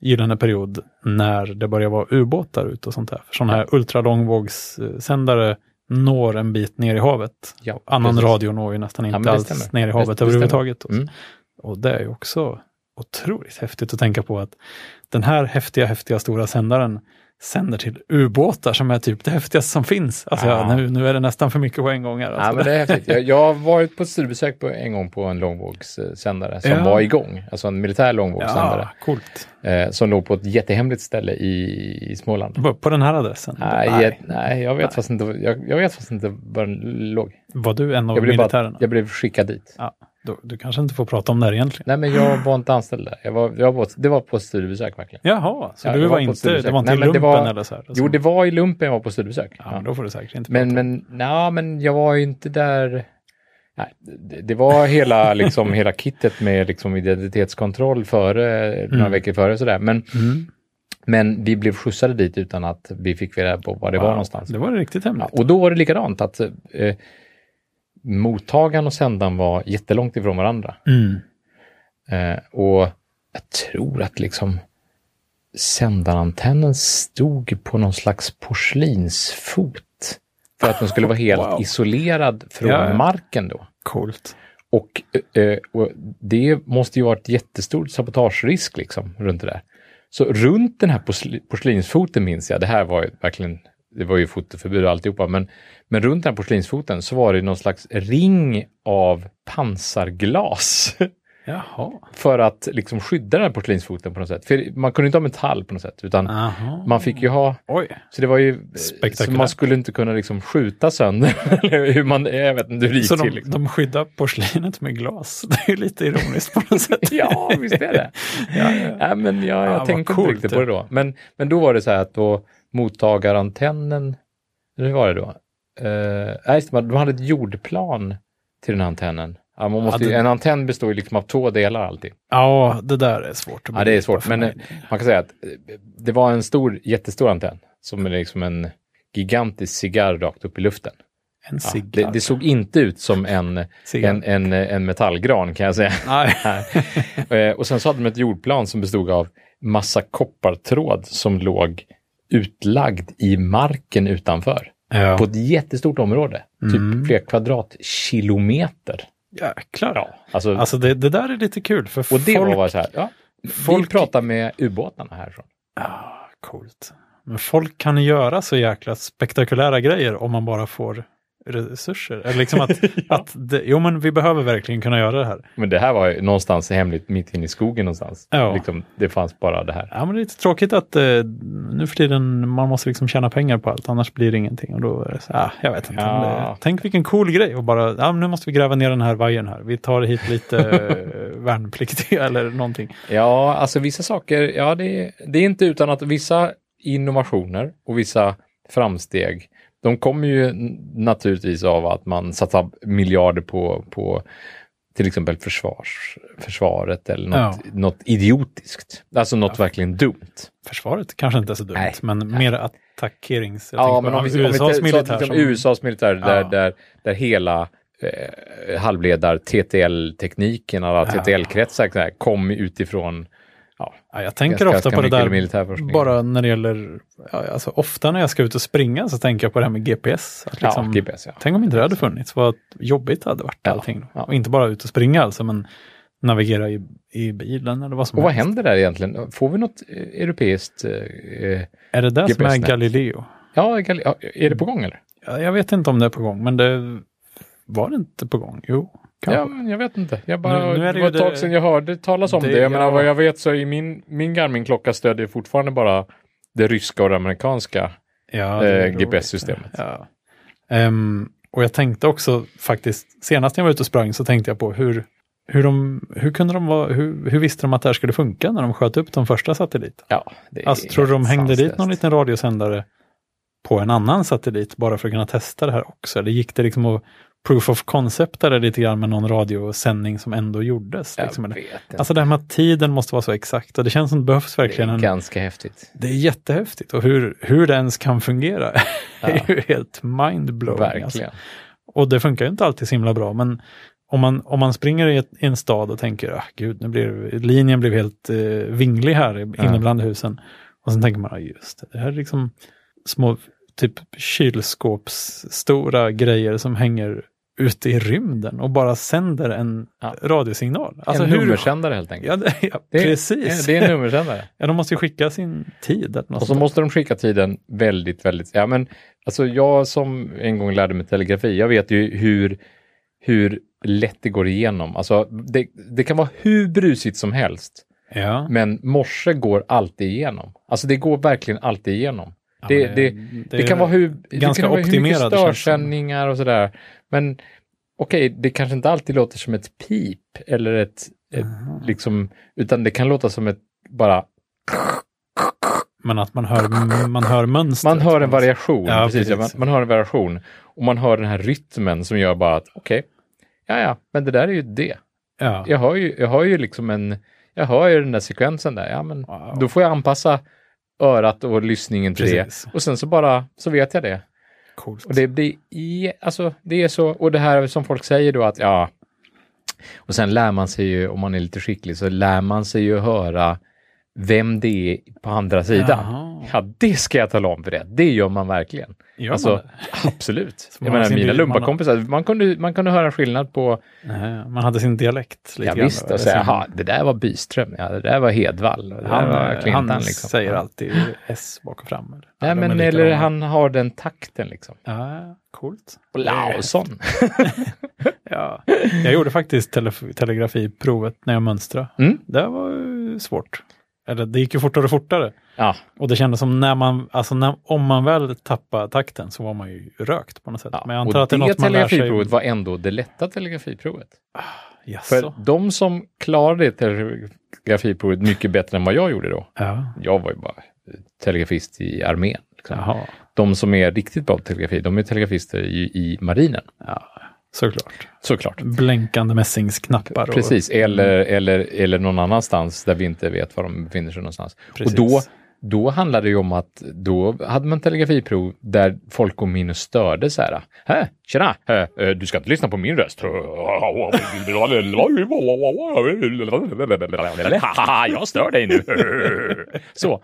B: gyllene period när det började vara ubåtar ute och sånt där. För sådana här ultralångvågssändare når en bit ner i havet.
A: Ja,
B: Annan
A: precis.
B: radio når ju nästan
A: men
B: inte
A: det
B: alls
A: stämmer.
B: ner i
A: Det-
B: havet
A: det
B: överhuvudtaget.
A: Mm.
B: Och det är ju också otroligt häftigt att tänka på att den här häftiga, häftiga stora sändaren sänder till ubåtar som är typ det häftigaste som finns. Alltså,
A: Ja.
B: ja, nu, nu är det nästan för mycket på en gång här. Alltså.
A: Ja, men det är häftigt. Jag, jag har varit på ett studiebesök på, en gång på en långvågssändare som
B: Ja.
A: var igång. Alltså en militär långvågssändare
B: ja, coolt.
A: eh, som låg på ett jättehemligt ställe i, i Småland.
B: På- På den här adressen?
A: Nej, Jag, nej, jag vet fast inte, jag, jag vet fast inte var den låg.
B: Var du en av
A: Jag blev, bara,
B: militärerna?
A: jag blev skickad dit.
B: Du, du kanske inte får prata om det här egentligen.
A: Nej, men jag var inte anställd där. Jag var, jag var, det var på ett studiebesök verkligen.
B: Jaha, så
A: Ja,
B: du
A: jag
B: var,
A: var på
B: inte,
A: studiebesök.
B: det var inte
A: Nej, men det
B: lumpen
A: var-
B: eller så här?
A: Jo, det var i lumpen jag var på studiebesök.
B: ja, men
A: Ja.
B: då får du säkert inte
A: Men,
B: prata.
A: men, nja, men jag var ju inte där. Nej, det, det var hela, liksom, hela kittet med liksom, identitetskontroll före, några veckor före sådär. Men,
B: Mm.
A: men vi blev skjutsade dit utan att vi fick reda på var det var
B: Wow,
A: någonstans.
B: Det var riktigt
A: Ja,
B: hemligt.
A: och då var det likadant att eh, mottagaren och sändaren var jättelångt ifrån varandra.
B: Mm.
A: Eh, och jag tror att liksom sändarantennen stod på någon slags porslinsfot. För att den skulle vara helt
B: Wow.
A: isolerad från
B: Ja, ja.
A: marken då.
B: Coolt.
A: Och, eh, eh, och det måste ju vara ett jättestort sabotagerisk liksom, runt det där. Så runt den här porsli- porslinsfoten minns jag, det här var ju verkligen, det var ju fotoförbud och alltihopa, men, men runt den här porslinsfoten så var det någon slags ring av pansarglas.
B: Jaha.
A: för att liksom skydda den här porslinsfoten på något sätt. För man kunde inte ha metall på något sätt, utan
B: Ah. Aha.
A: man fick ju ha...
B: Oj.
A: Så det var ju... eh, Så
B: Spektakulärt.
A: man skulle inte kunna liksom skjuta sönder, eller hur man... Jag vet inte hur det gick
B: Så
A: till.
B: de,
A: Liksom.
B: de skyddar porslinet med glas. Det är ju lite ironiskt på något sätt.
A: Ja, visst är det.
B: Ja, ja.
A: Ja, men jag, jag
B: Ah, vad
A: tänkte
B: coolt
A: inte riktigt
B: det.
A: på det då. Men, men då var det så här att då mottagarantennen, eller hur var det då? Uh, nej, just det, man- de hade ett jordplan till den här antennen. Ja, man måste, ju-
B: det-
A: En antenn består ju liksom av två delar alltid.
B: ja, det där är svårt.
A: Ja,
B: att
A: det är
B: begripa
A: svårt,
B: för
A: men eh,
B: mig.
A: man kan säga att eh, det var en stor, jättestor antenn som är liksom en gigantisk cigarr rakt upp i luften.
B: En
A: Ja,
B: cigg.
A: det, det såg inte ut som en,
B: Cigg.
A: en, en, en metallgran kan jag säga.
B: Nej.
A: Eh, och sen så hade de ett jordplan som bestod av massa koppartråd som låg utlagd i marken utanför.
B: Ja. Mm.
A: På ett jättestort område, typ flera kvadratkilometer.
B: Jäklar.
A: Alltså,
B: Alltså det, det där är lite kul för
A: och det
B: folk...
A: var bara så här, ja, folk
B: folk-
A: pratar med ubåtarna härifrån.
B: Ah, coolt. Men folk kan göra så jäkla spektakulära grejer om man bara får resurser. Eller liksom att, att det, jo men vi behöver verkligen kunna göra det här.
A: Men det här var ju någonstans hemligt, mitt inne i skogen någonstans.
B: Ja.
A: Liksom, det fanns bara det här.
B: Ja, men det är lite tråkigt att eh, nu för tiden man måste liksom tjäna pengar på allt, annars blir det ingenting. Och då är det så, ah, jag vet inte.
A: Ja.
B: om Det, tänk vilken cool grej och bara, ah, men nu måste vi gräva ner den här vajern här. Vi tar hit lite eh, värnpliktiga eller någonting.
A: Ja, alltså vissa saker, ja det, det är inte utan att vissa innovationer och vissa framsteg, de kommer ju n- naturligtvis av att man satsar miljarder på, på till exempel försvars, försvaret eller något, något idiotiskt. Alltså något verkligen dumt.
B: Försvaret kanske inte är så dumt,
A: Nej.
B: men mer attackerings... jag
A: Ja,
B: tänker
A: men
B: på
A: om vi, om vi
B: USAs
A: tar- liksom
B: militär
A: tar till
B: som-
A: exempel USAs militär där,
B: Ja.
A: där, där hela eh, halvledar-TTL-tekniken, alla
B: Ja.
A: TTL-kretsar så här, kom utifrån
B: Ja, jag tänker
A: ganska,
B: ofta
A: ganska
B: på det
A: mycket
B: där,
A: militärforskning.
B: bara när det gäller, ja, alltså ofta när jag ska ut och springa så tänker jag på det här med GPS. Att liksom,
A: ja, GPS, ja.
B: Tänk om inte det hade funnits, vad jobbigt det hade varit
A: Ja,
B: allting. då.
A: ja.
B: Och inte bara ut och springa alltså, men navigera i, i bilen eller vad som
A: Och vad
B: helst.
A: händer där egentligen? Får vi något eh, europeiskt? eh, eh,
B: Är det där som är
A: GPS-nät?
B: Galileo?
A: Ja, Gal- ja, är det på gång eller?
B: Ja, Jag vet inte om det är på gång, men det var det inte på gång. Jo,
A: Ja,
B: kanske.
A: men jag vet inte. Jag bara,
B: Nu- nu är
A: det,
B: det ju
A: var ett tag
B: det-
A: sedan jag hörde talas om det.
B: det-
A: Jag menar,
B: ja.
A: vad jag vet så är min, min Garmin-klocka stödjer fortfarande bara det ryska och det amerikanska.
B: Ja, det är
A: eh,
B: roligt.
A: GPS-systemet.
B: Ja. Ehm, och jag tänkte också faktiskt, senast när jag var ute och sprang så tänkte jag på hur, hur, de, hur, kunde de vara, hur, hur visste de att det här skulle funka när de sköt upp de första satelliterna?
A: Ja, det är
B: Alltså, tror du de
A: helt
B: hängde dit
A: sanslöst.
B: någon liten radiosändare på en annan satellit bara för att kunna testa det här också? Eller gick det liksom att proof of concept där lite grann med någon radiosändning som ändå gjordes?
A: Jag
B: Liksom, eller?
A: vet inte.
B: Alltså det här med att tiden måste vara så exakt och det känns som det behövs
A: det
B: verkligen
A: är
B: en...
A: ganska häftigt.
B: Det är jättehäftigt och hur, hur det ens kan fungera
A: Ja.
B: är ju helt mindblowing. Alltså.
A: Verkligen.
B: Och det funkar ju inte alltid så himla bra, men om man, om man springer i, ett, i en stad och tänker, ah, gud, nu blir linjen blev helt eh, vinglig här i-
A: Ja.
B: inne bland husen. Och sen tänker man, ah, just det, det här är liksom små typ kylskåpsstora grejer som hänger ute i rymden och bara sänder en
A: Ja.
B: radiosignal. Alltså
A: en
B: hur-
A: nummersändare helt enkelt.
B: Ja, det, ja
A: Det är-
B: precis.
A: Det är en nummersändare.
B: ja, de måste ju skicka sin tid. Eller något
A: Och så
B: sånt
A: måste de skicka tiden väldigt, väldigt... Ja, men, alltså jag som en gång lärde mig telegrafi, jag vet ju hur, hur lätt det går igenom. Alltså, det, det kan vara hur brusigt som helst,
B: där. ja.
A: men morse går alltid igenom. Alltså det går verkligen alltid igenom.
B: Ja,
A: det,
B: men
A: det, det, kan vara hur, det
B: ganska
A: kan vara hur mycket
B: optimerad, det känns som.
A: störsändningar och sådär. Men okej, det kanske inte alltid låter som ett pip eller ett, ett liksom, utan det kan låta som ett bara
B: Men att man hör, man hör mönstret.
A: Man hör en
B: på något sätt.
A: variation.
B: Ja,
A: precis. Ja, Man,
B: precis.
A: man hör en variation. Och man hör den här rytmen som gör bara att okej, ja ja, men det där är ju det.
B: Ja.
A: Jag hör ju, jag hör ju liksom en, jag hör ju den där sekvensen där. Ja, men
B: Wow.
A: då får jag anpassa örat och lyssningen till
B: Precis.
A: det. Och sen så bara, så vet jag det.
B: Coolt.
A: Och det blir, i, alltså det är så, och det här som folk säger då att ja, och sen lär man sig ju, om man är lite skicklig, så lär man sig ju höra vem det är på andra sidan.
B: Jaha.
A: Ja, det ska jag tala om för det. Det gör man verkligen.
B: Gör
A: Alltså,
B: man det?
A: Absolut.
B: Som
A: Jag
B: har
A: menar,
B: sin
A: mina
B: bil, man har-
A: lumparkompisar, man kunde, man kunde höra skillnad på,
B: Nej, man hade sin dialekt lite
A: ja,
B: grann.
A: visst,
B: då,
A: och säga,
B: eller sin-
A: jaha, det där var Byström, ja, det där var Hedvall, och det där var
B: han, eh,
A: Clintan.
B: han
A: liksom.
B: säger
A: Ja.
B: alltid S bak och fram. eller? Ja,
A: Nej,
B: de är
A: men
B: likadana.
A: eller han har den takten liksom.
B: Ja, coolt.
A: Och Lausson.
B: Ja. Jag gjorde faktiskt tele- telegrafiprovet när jag mönstrade.
A: Mm.
B: Det var ju svårt. Eller det gick ju fortare och fortare.
A: Ja,
B: Och det kändes som när man, alltså när, om man väl tappade takten så var man ju rökt på något sätt.
A: ja.
B: Men jag antar att det är
A: och det
B: något man lär sig.
A: telegrafiprovet var ändå det lätta telegrafiprovet. För
B: Jaså.
A: de som klarade det telegrafiprovet mycket bättre än vad jag gjorde då,
B: Ja.
A: jag var ju bara telegrafist i armén. Liksom.
B: Jaha,
A: De som är riktigt bra på telegrafi, de är telegrafister i, i marinen,
B: såklart.
A: såklart.
B: Blänkande mässingsknappar. och-
A: Precis, eller, eller, eller någon annanstans där vi inte vet var de befinner sig någonstans.
B: Precis.
A: Och då, då handlade det ju om att då hade man telegrafiprov där folk kom in och störde så här. Hä, tjena, hä, eh, du ska inte lyssna på min röst. Haha, jag stör dig nu. Så.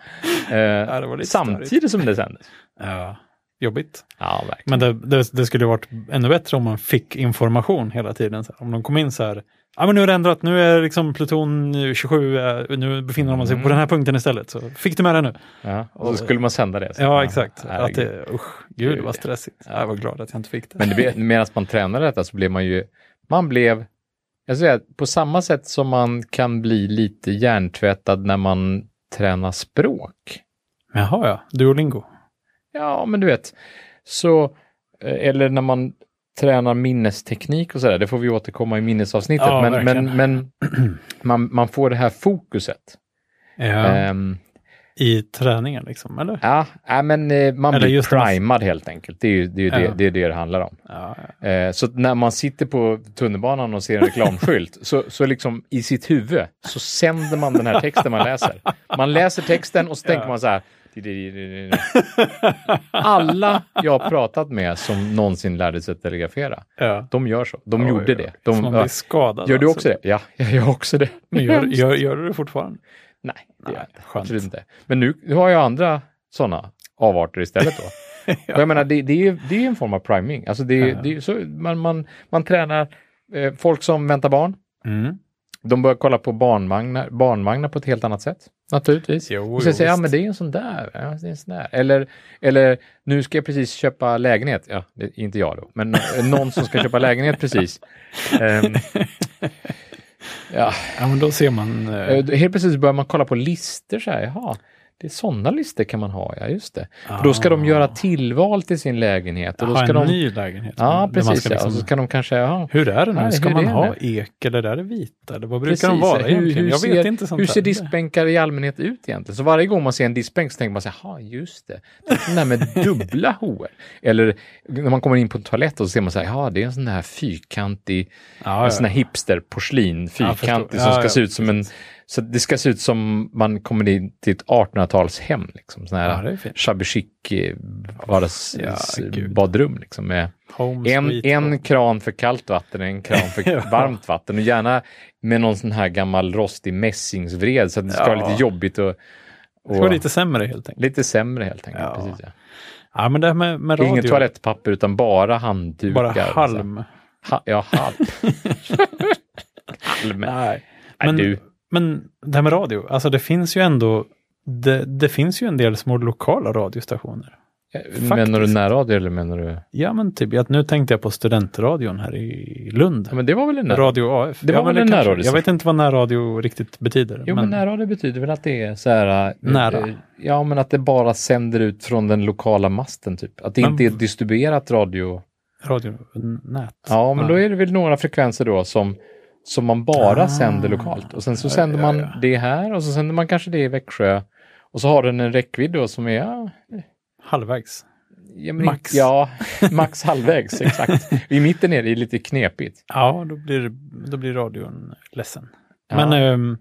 B: det var
A: Eh,
B: lite
A: samtidigt som det sändes.
B: Ja, jobbigt.
A: Ja, verkligen.
B: Men det, det, det skulle ju varit ännu bättre om man fick information hela tiden. Så här, om de kom in så här, ja men nu är det ändrat, nu är liksom pluton 27, eh, nu befinner de sig på den här punkten istället. Så fick du med det nu?
A: Ja, och Mm. så skulle man sända det.
B: Ja, exakt. Att
A: herregud.
B: det, usch, gud vad stressigt. Jag var glad att jag inte fick det.
A: Men det, medan man tränade detta så blev man ju, man blev, jag skulle säga på samma sätt som man kan bli lite hjärntvättad när man tränar språk.
B: Jaha ja, Duolingo.
A: Ja, men du vet, så, eh, eller när man tränar minnesteknik och sådär, det får vi återkomma i minnesavsnittet,
B: Ja,
A: men, men,
B: verkligen.
A: men man, man får det här fokuset.
B: Ja,
A: Ehm,
B: I träningen liksom, eller?
A: ja, nej, men eh, man
B: Eller
A: blir
B: just när man-
A: primad helt enkelt, det är ju det, är ju
B: Ja.
A: det, det, är det det handlar om.
B: Ja, ja.
A: Eh, Så att när man sitter på tunnelbanan och ser en reklamskylt, så, så liksom i sitt huvud så sänder man den här texten man läser. Man läser texten och så tänker man så här. Alla jag har pratat med som någonsin lärde sig att telegrafera,
B: ja.
A: de gör så. De
B: Oj,
A: gjorde
B: oj,
A: det.
B: oj. Så
A: De,
B: man
A: ja.
B: blir skadad.
A: gör du också
B: alltså.
A: det? Ja, jag gör också det.
B: Men gör, gör, gör du det fortfarande?
A: Nej, det gör jag inte.
B: skönt.
A: Absolut inte. Men nu, nu har jag andra sådana avarter istället då. Och jag menar, det, det, är, ju- det är ju en form av priming. Alltså det, är- det är ju så, man, man, man tränar eh, folk som väntar barn.
B: Mm.
A: De börjar kolla på barnvagnar, barnvagnar på ett helt annat sätt. Naturligtvis.
B: Jo,
A: och sen
B: jo,
A: säger ja
B: visst.
A: men det är en sån där. Ja, det är en sån där. Eller, eller nu ska jag precis köpa lägenhet. Ja, det är inte jag då, men eh, någon som ska köpa lägenhet precis. Ehm, ja,
B: Ja, men då ser man. eh,
A: Eh, Helt precis börjar man kolla på listor så här, jaha, det är sådana listor kan man ha, ja just det. För då ska de göra tillval till sin lägenhet. Och då
B: ha
A: ska
B: Ah. en
A: de,
B: ny lägenhet. där
A: ja,
B: man
A: precis.
B: ska
A: ja.
B: liksom-
A: Och så ska de kanske, ja,
B: Hur är det nu?
A: Nej,
B: ska
A: hur
B: man
A: är
B: ha
A: det?
B: ek eller är det vita? Eller vad brukar
A: precis,
B: de vara
A: hur,
B: egentligen?
A: hur
B: jag
A: ser,
B: vet inte sånt
A: hur ser
B: där.
A: diskbänkar i allmänhet ut egentligen? Så varje gång man ser en diskbänk så tänker man så här, ja just det, det är den där med dubbla hoer. Eller när man kommer in på en toalett och så ser man så här, ja det är en sån där fyrkantig
B: Ja,
A: En
B: ja.
A: sån här hipsterporslin,
B: Ja, jag
A: fyrkantig,
B: förstår.
A: som
B: Ja,
A: ska
B: ja,
A: se ut som en... Så det ska se ut som man kommer in till ett 1800-talshem, liksom. Sån
B: Ja,
A: här
B: det är fint.
A: shabby chic eh, vardags,
B: Ja,
A: s-
B: gud.
A: badrum, liksom. Med
B: Home
A: en,
B: sweet
A: en
B: home.
A: kran för kallt vatten, en kran för
B: Ja.
A: varmt vatten och gärna med någon sån här gammal rostig mässingsvred så att det ska vara
B: Ja.
A: lite jobbigt och,
B: Det ska vara
A: och
B: lite sämre helt enkelt.
A: lite sämre helt enkelt.
B: Ja.
A: Precis, ja.
B: Ja, men det här med, med radio.
A: Inget toalettpapper utan bara handdukar.
B: Bara
A: och så här.
B: halm.
A: Ha, ja, halm. halm.
B: Nej.
A: Nej,
B: Men,
A: du.
B: men det här med radio, alltså det finns ju ändå, det, det finns ju en del små lokala radiostationer.
A: Menar du
B: Faktiskt.
A: närradio eller menar du?
B: Ja, men typ, att nu tänkte jag på studentradion här i Lund.
A: Ja, men det var väl en närradio?
B: Radio AF.
A: Det var
B: ja, men
A: väl en
B: kanske-
A: närradio-
B: Jag vet inte vad närradio riktigt betyder.
A: Jo, men närradio betyder väl att det är så här... eh,
B: Nära.
A: eh, Ja, men att det bara sänder ut från den lokala masten, typ. Att det
B: Men-
A: inte är ett distribuerat radio.
B: radionät.
A: Ja, men
B: Nej.
A: då är det väl några frekvenser då som, som man bara
B: Ah.
A: sänder lokalt. Och sen så
B: Ja,
A: sänder
B: ja,
A: man
B: ja.
A: det här och så sänder man kanske det i Växjö. Och så har den en räckvidd då som är... ja,
B: Halvvägs.
A: Ja, men
B: Max.
A: Ja, max halvvägs, exakt. I mitten är det lite knepigt.
B: Ja, då blir, då blir radion ledsen.
A: Ja.
B: Men ehm,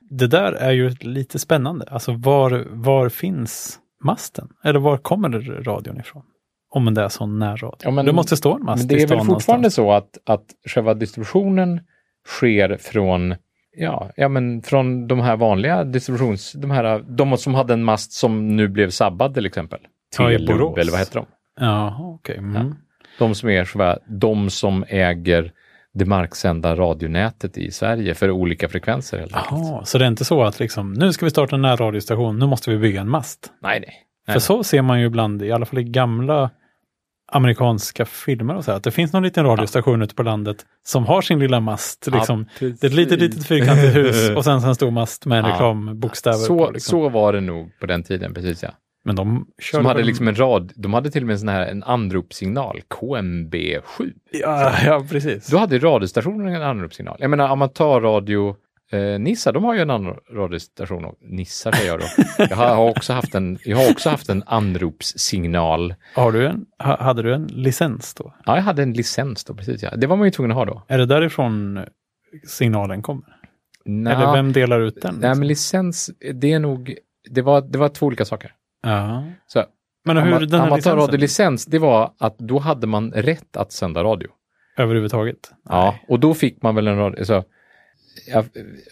B: det där är ju lite spännande. Alltså var, var finns masten? Eller var kommer radion ifrån? Om det är sån närradio.
A: Ja, men-
B: det måste stå en mast
A: Men det
B: i
A: är
B: stan
A: väl fortfarande
B: någonstans.
A: så att, att själva distributionen sker från Ja, ja, men från de här vanliga distributions... De, här, de som hade en mast som nu blev sabbad till exempel.
B: Ja, i
A: Telub,
B: Borås.
A: eller vad heter de?
B: Jaha, okej. Mm.
A: De som, är, själva- de som äger det marksända radionätet i Sverige för olika frekvenser helt enkelt.
B: Jaha, så det är inte så att liksom, nu ska vi starta en närradiostation, nu måste vi bygga en mast.
A: Nej, nej.
B: För så ser man ju ibland, i alla fall i gamla amerikanska filmer och så här, att det finns någon liten radiostation ute på landet som har sin lilla mast. Liksom.
A: precis.
B: det är ett litet, litet fyrkantigt hus och sen så en stor mast med en
A: Ja.
B: reklambokstäver.
A: Så,
B: på, liksom.
A: så var det nog på den tiden, precis ja.
B: Men de körde
A: De hade
B: väl-
A: liksom en rad, de hade till och med en sån här en anropssignal, KMB7.
B: Ja, ja precis.
A: Då hade radiostationen en anropssignal. Jag menar amatörradio eh, Nissa, de har ju en annan radiostation. och- Nissa säger jag då. Jag har har också haft en, jag har också haft en anropssignal.
B: Har du en, ha, hade du en licens då?
A: Ja, jag hade en licens då, precis ja. Det var man ju tvungen att ha då.
B: Är det därifrån signalen kommer?
A: Nja,
B: Eller vem delar ut den? liksom?
A: Nej, men licens, det är nog det var, det var två olika saker.
B: Ja.
A: Så,
B: Men hur
A: Ama-
B: den här licensen
A: Amatörradiolicens, det var att då hade man rätt att sända radio.
B: överhuvudtaget?
A: Ja, och då fick man väl en radio. Så, ja,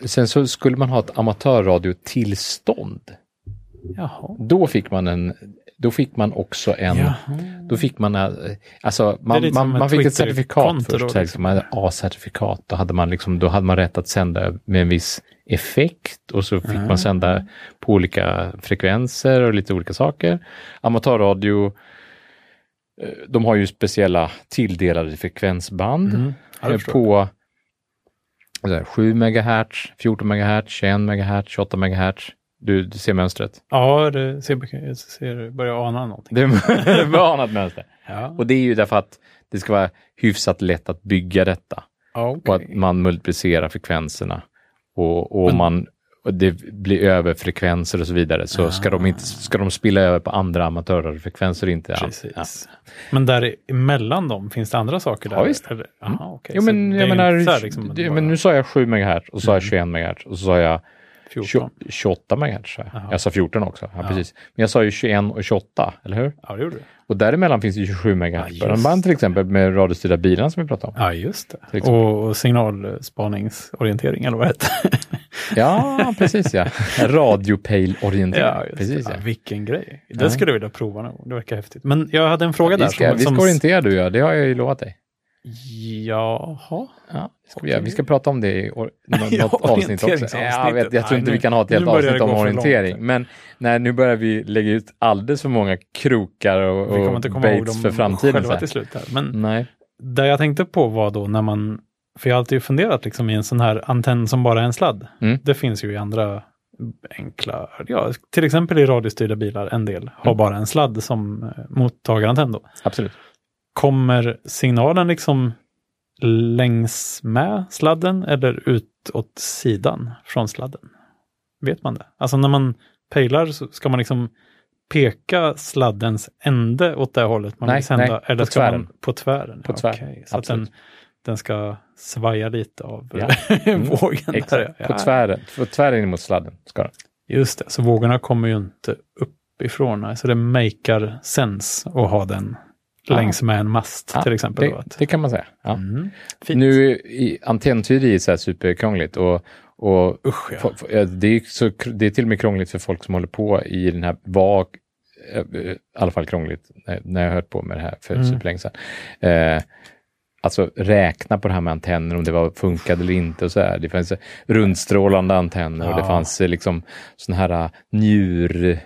A: sen så skulle man ha ett amatörradiotillstånd.
B: Jaha.
A: Då fick man en, då fick man också en,
B: Ja.
A: då fick man, eh, alltså man,
B: lite
A: man,
B: som ett
A: man fick ett
B: Twitter-konto
A: certifikat
B: då,
A: först,
B: liksom.
A: så här, liksom. man hade A-certifikat, då hade man liksom, då hade man rätt att sända med en viss effekt och så fick
B: Ah.
A: man sända på olika frekvenser och lite olika saker. Amatörradio, eh, de har ju speciella tilldelade frekvensband
B: Mm. Ja, det
A: eh,
B: förstår jag.
A: på alltså, 7 MHz, 14 MHz, 21 MHz, 28 MHz. Du, du ser mönstret.
B: Ja, det ser, jag ser, börjar ana någonting.
A: Det är ett anat mönster.
B: Ja.
A: Och det är ju därför att det ska vara hyfsat lätt att bygga detta
B: Ja,
A: och
B: okej.
A: att man multiplicerar frekvenserna och, och
B: Men-
A: man och det blir överfrekvenser och så vidare, så ska, de inte, ska de spilla över på andra amatörfrekvenser inte. Ja.
B: Precis. Men däremellan dem, finns det andra saker där?
A: Ja, visst. Mm.
B: Eller, aha, okej.
A: Jo,
B: Så
A: men
B: det är
A: jag
B: ju
A: menar,
B: inte så här liksom att
A: det,
B: bara
A: men nu sa jag 7 MHz och så sa
B: Mm.
A: jag 21 MHz och så sa jag
B: 14.
A: 20- 28 MHz. sa jag.
B: Jaha.
A: Jag sa 14 också, ja, precis. Men jag sa ju 21 och 28, eller hur?
B: Ja, det gjorde du.
A: Och däremellan finns det 27 MHz.
B: Ja, just
A: band till exempel med radiostyrda bilar som vi pratade om.
B: Ja, just
A: Till
B: det.
A: exempel.
B: Och, och signalspaningsorientering, eller vad det heter.
A: Ja, precis ja. Radiopail-orientering.
B: ja, just
A: precis
B: det.
A: ja.
B: Ja, vilken grej. Det
A: Ja.
B: skulle jag vilja prova någon gång. Det verkar häftigt. Men jag hade en fråga där.
A: Vi ska,
B: som-
A: vi
B: som-
A: ska orientera du ja, det har jag ju lovat dig.
B: Jaha.
A: Ja, det ska vi, göra. vi ska prata om det i or- nå-
B: Ja,
A: något avsnitt också.
B: orienteringsavsnittet.
A: Ja, jag, vet, jag tror
B: Nej,
A: inte
B: nu-
A: vi kan ha ett
B: nu
A: helt
B: börjar det
A: avsnitt om
B: gå för
A: orientering.
B: långt.
A: Men nej, nu börjar vi lägga ut alldeles för många krokar
B: Vi
A: och,
B: kommer
A: och
B: inte komma ihåg dem
A: baits för framtiden. så här.
B: själva
A: Mm.
B: till slut. Här. Men
A: Nej,
B: det jag tänkte på var då när man, för jag har alltid funderat liksom i en sån här antenn som bara är en sladd.
A: Mm.
B: Det finns ju i andra enkla, ja, till exempel i radiostyrda bilar en del har bara en sladd som eh, mottagarantenn då.
A: absolut.
B: Kommer signalen liksom längs med sladden eller ut åt sidan från sladden? Vet man det? Alltså när man pejlar så ska man liksom peka sladdens ände åt det hållet man
A: Nej,
B: vill sända?
A: nej,
B: eller
A: på
B: ska
A: tvären.
B: Man, på tvären.
A: På
B: ja,
A: tvären,
B: okej. Så att den,
A: absolut.
B: den ska svaja lite av
A: Ja. Mm,
B: vågen. Där.
A: Exakt.
B: ja.
A: På tvären, på tvären in mot sladden ska den.
B: Just det, så vågorna kommer ju inte uppifrån. nej. Så det makear sens att ha den
A: Ah.
B: längs med en mast
A: Ja,
B: till exempel. då,
A: Det,
B: att-
A: det kan man säga. Ja.
B: Mm. Fint.
A: Nu i antennteori är så här superkrångligt och, och
B: Usch, ja.
A: F- f- eh, Det är, så, kr- det är till och med krångligt för folk som håller på i den här vag, eh, eh, i alla fall krångligt, när- när jag höll på med det här för
B: Mm.
A: superlänge sedan. Eh, alltså räkna på det här med antenner, om det var, funkade eller inte och så här. Det fanns eh, rundstrålande antenner och det
B: Ja.
A: fanns eh, liksom sådana här eh, njur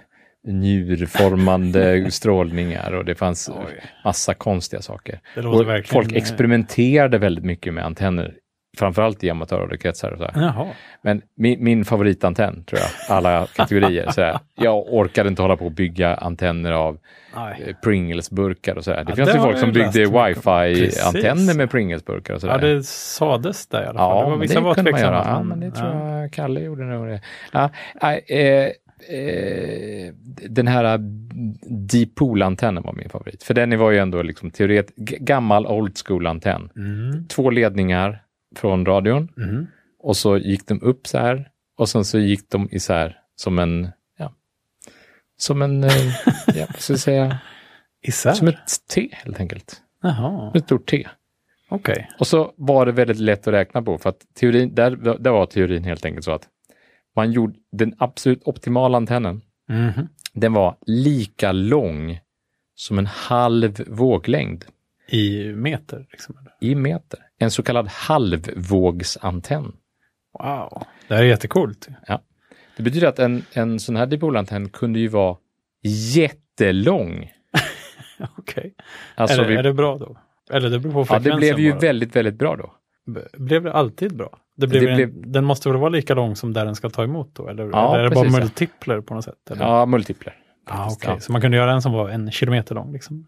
A: njurformande strålningar och det fanns eh,
B: Oj.
A: massa konstiga saker.
B: Det låter
A: Och
B: verkligen... eh,
A: folk experimenterade väldigt mycket med antenner, framförallt i amatörradiokretsar. och så här.
B: Jaha.
A: Men min, min favoritantenn, tror jag, alla kategorier. Sådär. Jag orkade inte hålla på och bygga antenner av
B: Nej.
A: eh, Pringles-burkar och sådär. Det
B: Ja,
A: finns
B: det
A: ju
B: har
A: folk
B: jag
A: som
B: läst
A: byggde
B: mycket om.
A: wifi-antenner
B: Precis.
A: med Pringles-burkar och sådär.
B: Ja, det sades där i alla fall.
A: Ja,
B: det var
A: men
B: vissa var
A: kunde man
B: tveksamma.
A: göra. Ja, men det tror jag Kalle gjorde nog det. Ja, nej, eh, eh, den här Deep Pool-antennen var min favorit. För den var ju ändå liksom teoret, g- gammal old school-antenn.
B: Mm.
A: Två ledningar från radion
B: Mm.
A: och så gick de upp så här och sen så gick de isär som en, ja, som en, eh, ja, vad ska jag säga,
B: Isär?
A: som ett T helt enkelt.
B: Jaha,
A: Som Ett stort T.
B: okej.
A: Och så var det väldigt lätt att räkna på för att teorin, där, där var teorin helt enkelt så att man gjorde den absolut optimala antennen,
B: Mhm.
A: den var lika lång som en halv våglängd
B: I meter? Liksom.
A: i meter. En så kallad halvvågsantenn.
B: Wow, det här är jättecoolt.
A: Det betyder att en, en sån här dipolantenn kunde ju vara jättelång.
B: Okej.
A: Alltså
B: är, det-
A: vi,
B: är det bra då? Eller det beror på
A: ja,
B: frekvensen
A: det blev ju
B: bara.
A: väldigt, väldigt bra då.
B: B- Blev det alltid bra? Det blev
A: Det
B: en,
A: blev-
B: Den måste väl vara lika lång som där den ska ta emot då? Eller,
A: Ja,
B: eller är det
A: precis,
B: bara
A: ja.
B: multipler på något sätt? Eller?
A: Ja, multipler.
B: ah,
A: faktiskt,
B: okej.
A: ja.
B: Så man kunde göra en som var en kilometer lång? Liksom.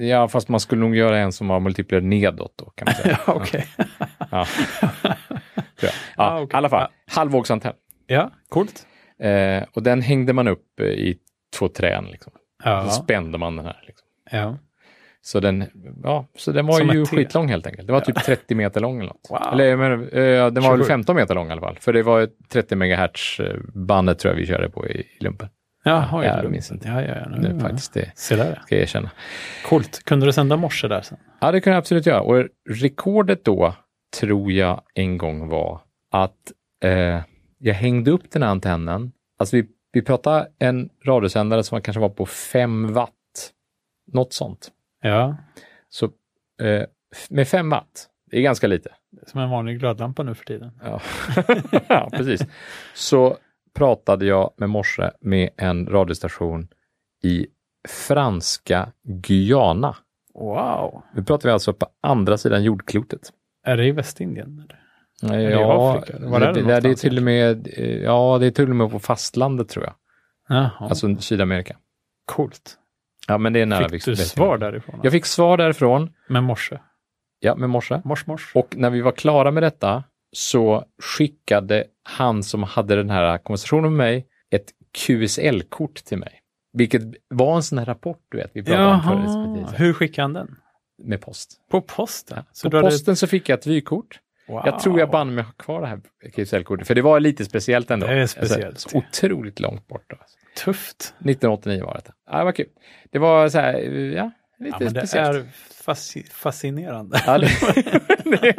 A: Ja, fast man skulle nog göra en som var multipler nedåt då, kan man säga.
B: Ja, okej.
A: Ja. Ja,
B: Ah,
A: I
B: okej.
A: alla fall, halvvågsantenn.
B: ja, coolt.
A: Eh, och den hängde man upp eh, i två trän. Liksom. Så
B: Ja,
A: spände man den här. Liksom.
B: ja.
A: Så, den, ja, så den var
B: Som
A: ju
B: ett T.
A: skitlång helt enkelt. Det var typ 30 meter lång eller något.
B: Wow.
A: Eller jag menar, eh, den var väl
B: 27.
A: eh, 15 meter lång i alla fall. För det var ju 30 MHz-bandet tror jag vi körde på i, i lumpen.
B: Jaha,
A: Ja,
B: är det
A: jag
B: lugnt?
A: minns inte.
B: Ja, ja, ja, nu,
A: Nu
B: ja.
A: faktiskt, det
B: Se där.
A: ska jag erkänna.
B: Coolt. Kunde du sända morse där sen?
A: Ja, det kunde jag absolut göra. Och rekordet då, tror jag en gång var att eh, jag hängde upp den här antennen. Alltså vi, vi pratade en radiosändare som kanske var på 5 watt, något sånt.
B: Ja,
A: Så eh, f- med 5 watt, det är ganska lite.
B: som en vanlig glödlampa nu för tiden.
A: Ja. ja, precis. Så pratade jag med morse med en radiostation i franska Guyana.
B: Wow.
A: Nu pratar vi alltså på andra sidan jordklotet.
B: Är det i Västindien? Eller?
A: Nej,
B: det i Afrika? Var är det
A: det, det, det är
B: någonstans
A: till och med, eh, ja, det är till och med på fastlandet tror jag.
B: Jaha,
A: Alltså Sydamerika.
B: coolt.
A: Ja, men det är nära.
B: Fick
A: Väst-
B: du
A: Västindien.
B: svar därifrån?
A: Jag fick svar därifrån,
B: Med morse?
A: ja, med morse.
B: Mors, mors?
A: Och när vi var klara med detta så skickade han som hade den här konversationen med mig ett QSL-kort till mig. Vilket var en sån här rapport, du vet, vi pratade om förut.
B: Jaha,
A: precis,
B: hur skickade han den?
A: Med post.
B: På posten? Så du
A: På
B: hade-
A: posten så fick jag ett vykort.
B: Wow.
A: Jag tror jag banne mig ha kvar det här QSL-kortet, för det var lite speciellt ändå.
B: Det är speciellt.
A: så otroligt långt bort. Alltså.
B: Tufft.
A: 1989 var det. Ja, det var kul. Det var så här, ja, lite
B: Ja, men det
A: speciellt.
B: är fasci- fascinerande.
A: Ja, det-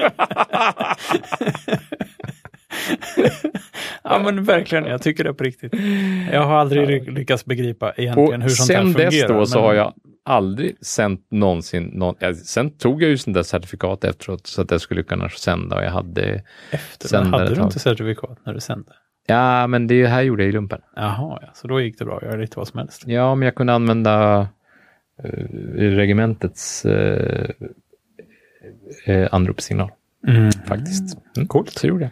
B: ja men verkligen, jag tycker det på riktigt. Jag har aldrig ly- lyckats begripa egentligen hur
A: Och
B: sånt här
A: sen
B: fungerar.
A: dess då så
B: men-
A: har jag aldrig sänt någonsin, någon, ja, sen tog jag ju sånt där certifikat efteråt så att jag skulle kunna sända och jag hade,
B: Efter,
A: sändare
B: men hade du
A: tag.
B: inte certifikat när du sände?
A: ja men det här gjorde jag i lumpen.
B: Jaha, ja. så då gick det bra att göra lite vad som helst.
A: Ja, men jag kunde använda eh, regementets eh, eh, anropssignal faktiskt. Mm. Coolt. Så gjorde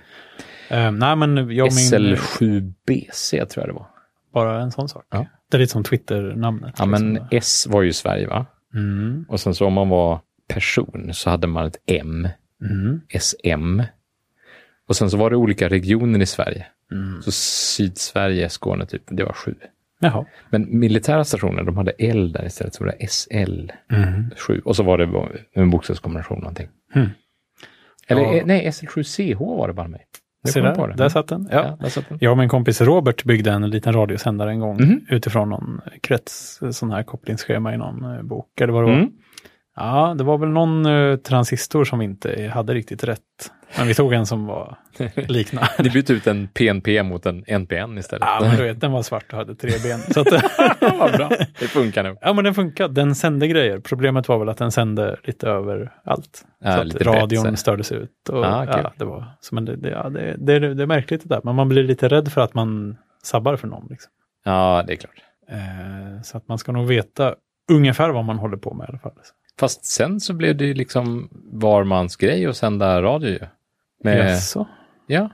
A: jag.
B: Eh, nej, men jag och min,
A: SL7BC tror jag det var.
B: bara en sån sak.
A: Ja.
B: Det är lite som Twitter-namnet.
A: Ja, men
B: liksom.
A: S var ju Sverige va?
B: mm,
A: Och sen så om man var person så hade man ett M,
B: mm,
A: SM. Och sen så var det olika regioner i Sverige.
B: mm.
A: Så Sydsverige, Skåne typ, det var sju.
B: Jaha.
A: Men militära stationer, de hade L där istället, så var det SL
B: Mm.
A: sju Och så var det en bokstavskombination någonting.
B: Hmm.
A: Eller
B: Ja.
A: eh, nej, SL7CH var det bara mig. Nu
B: Se
A: kom jag
B: där,
A: på det.
B: där satt den. Ja.
A: Ja, där satt den.
B: Jag och min kompis Robert byggde en liten radiosändare en gång
A: Mhm.
B: utifrån någon krets, sån här kopplingsschema i någon eh, bok eller vad det var.
A: Mm.
B: Ja, det var väl någon eh, transistor som vi inte hade riktigt rätt. Men vi tog en som var liknande.
A: Ni bytte ut en PNP mot en NPN istället.
B: ja, men du vet, den var svart och hade tre ben. Så att,
A: Vad bra. Det funkar nog.
B: ja, men den funkade. Den sände grejer. Problemet var väl att den sände lite överallt.
A: Ja,
B: så att
A: lite brett,
B: radion
A: så här.
B: stördes ut. Och,
A: Ah, kul.
B: ja, det, var, så, men det, det, ja, det, det, är- det är märkligt det där. Men man blir lite rädd för att man sabbar för någon. Liksom.
A: Ja, det är klart.
B: Eh, så att man ska nog veta ungefär vad man håller på med i alla fall.
A: Fast sen så blev det ju liksom var mans grej att sända radio ju. Med,
B: Jaså?
A: Ja.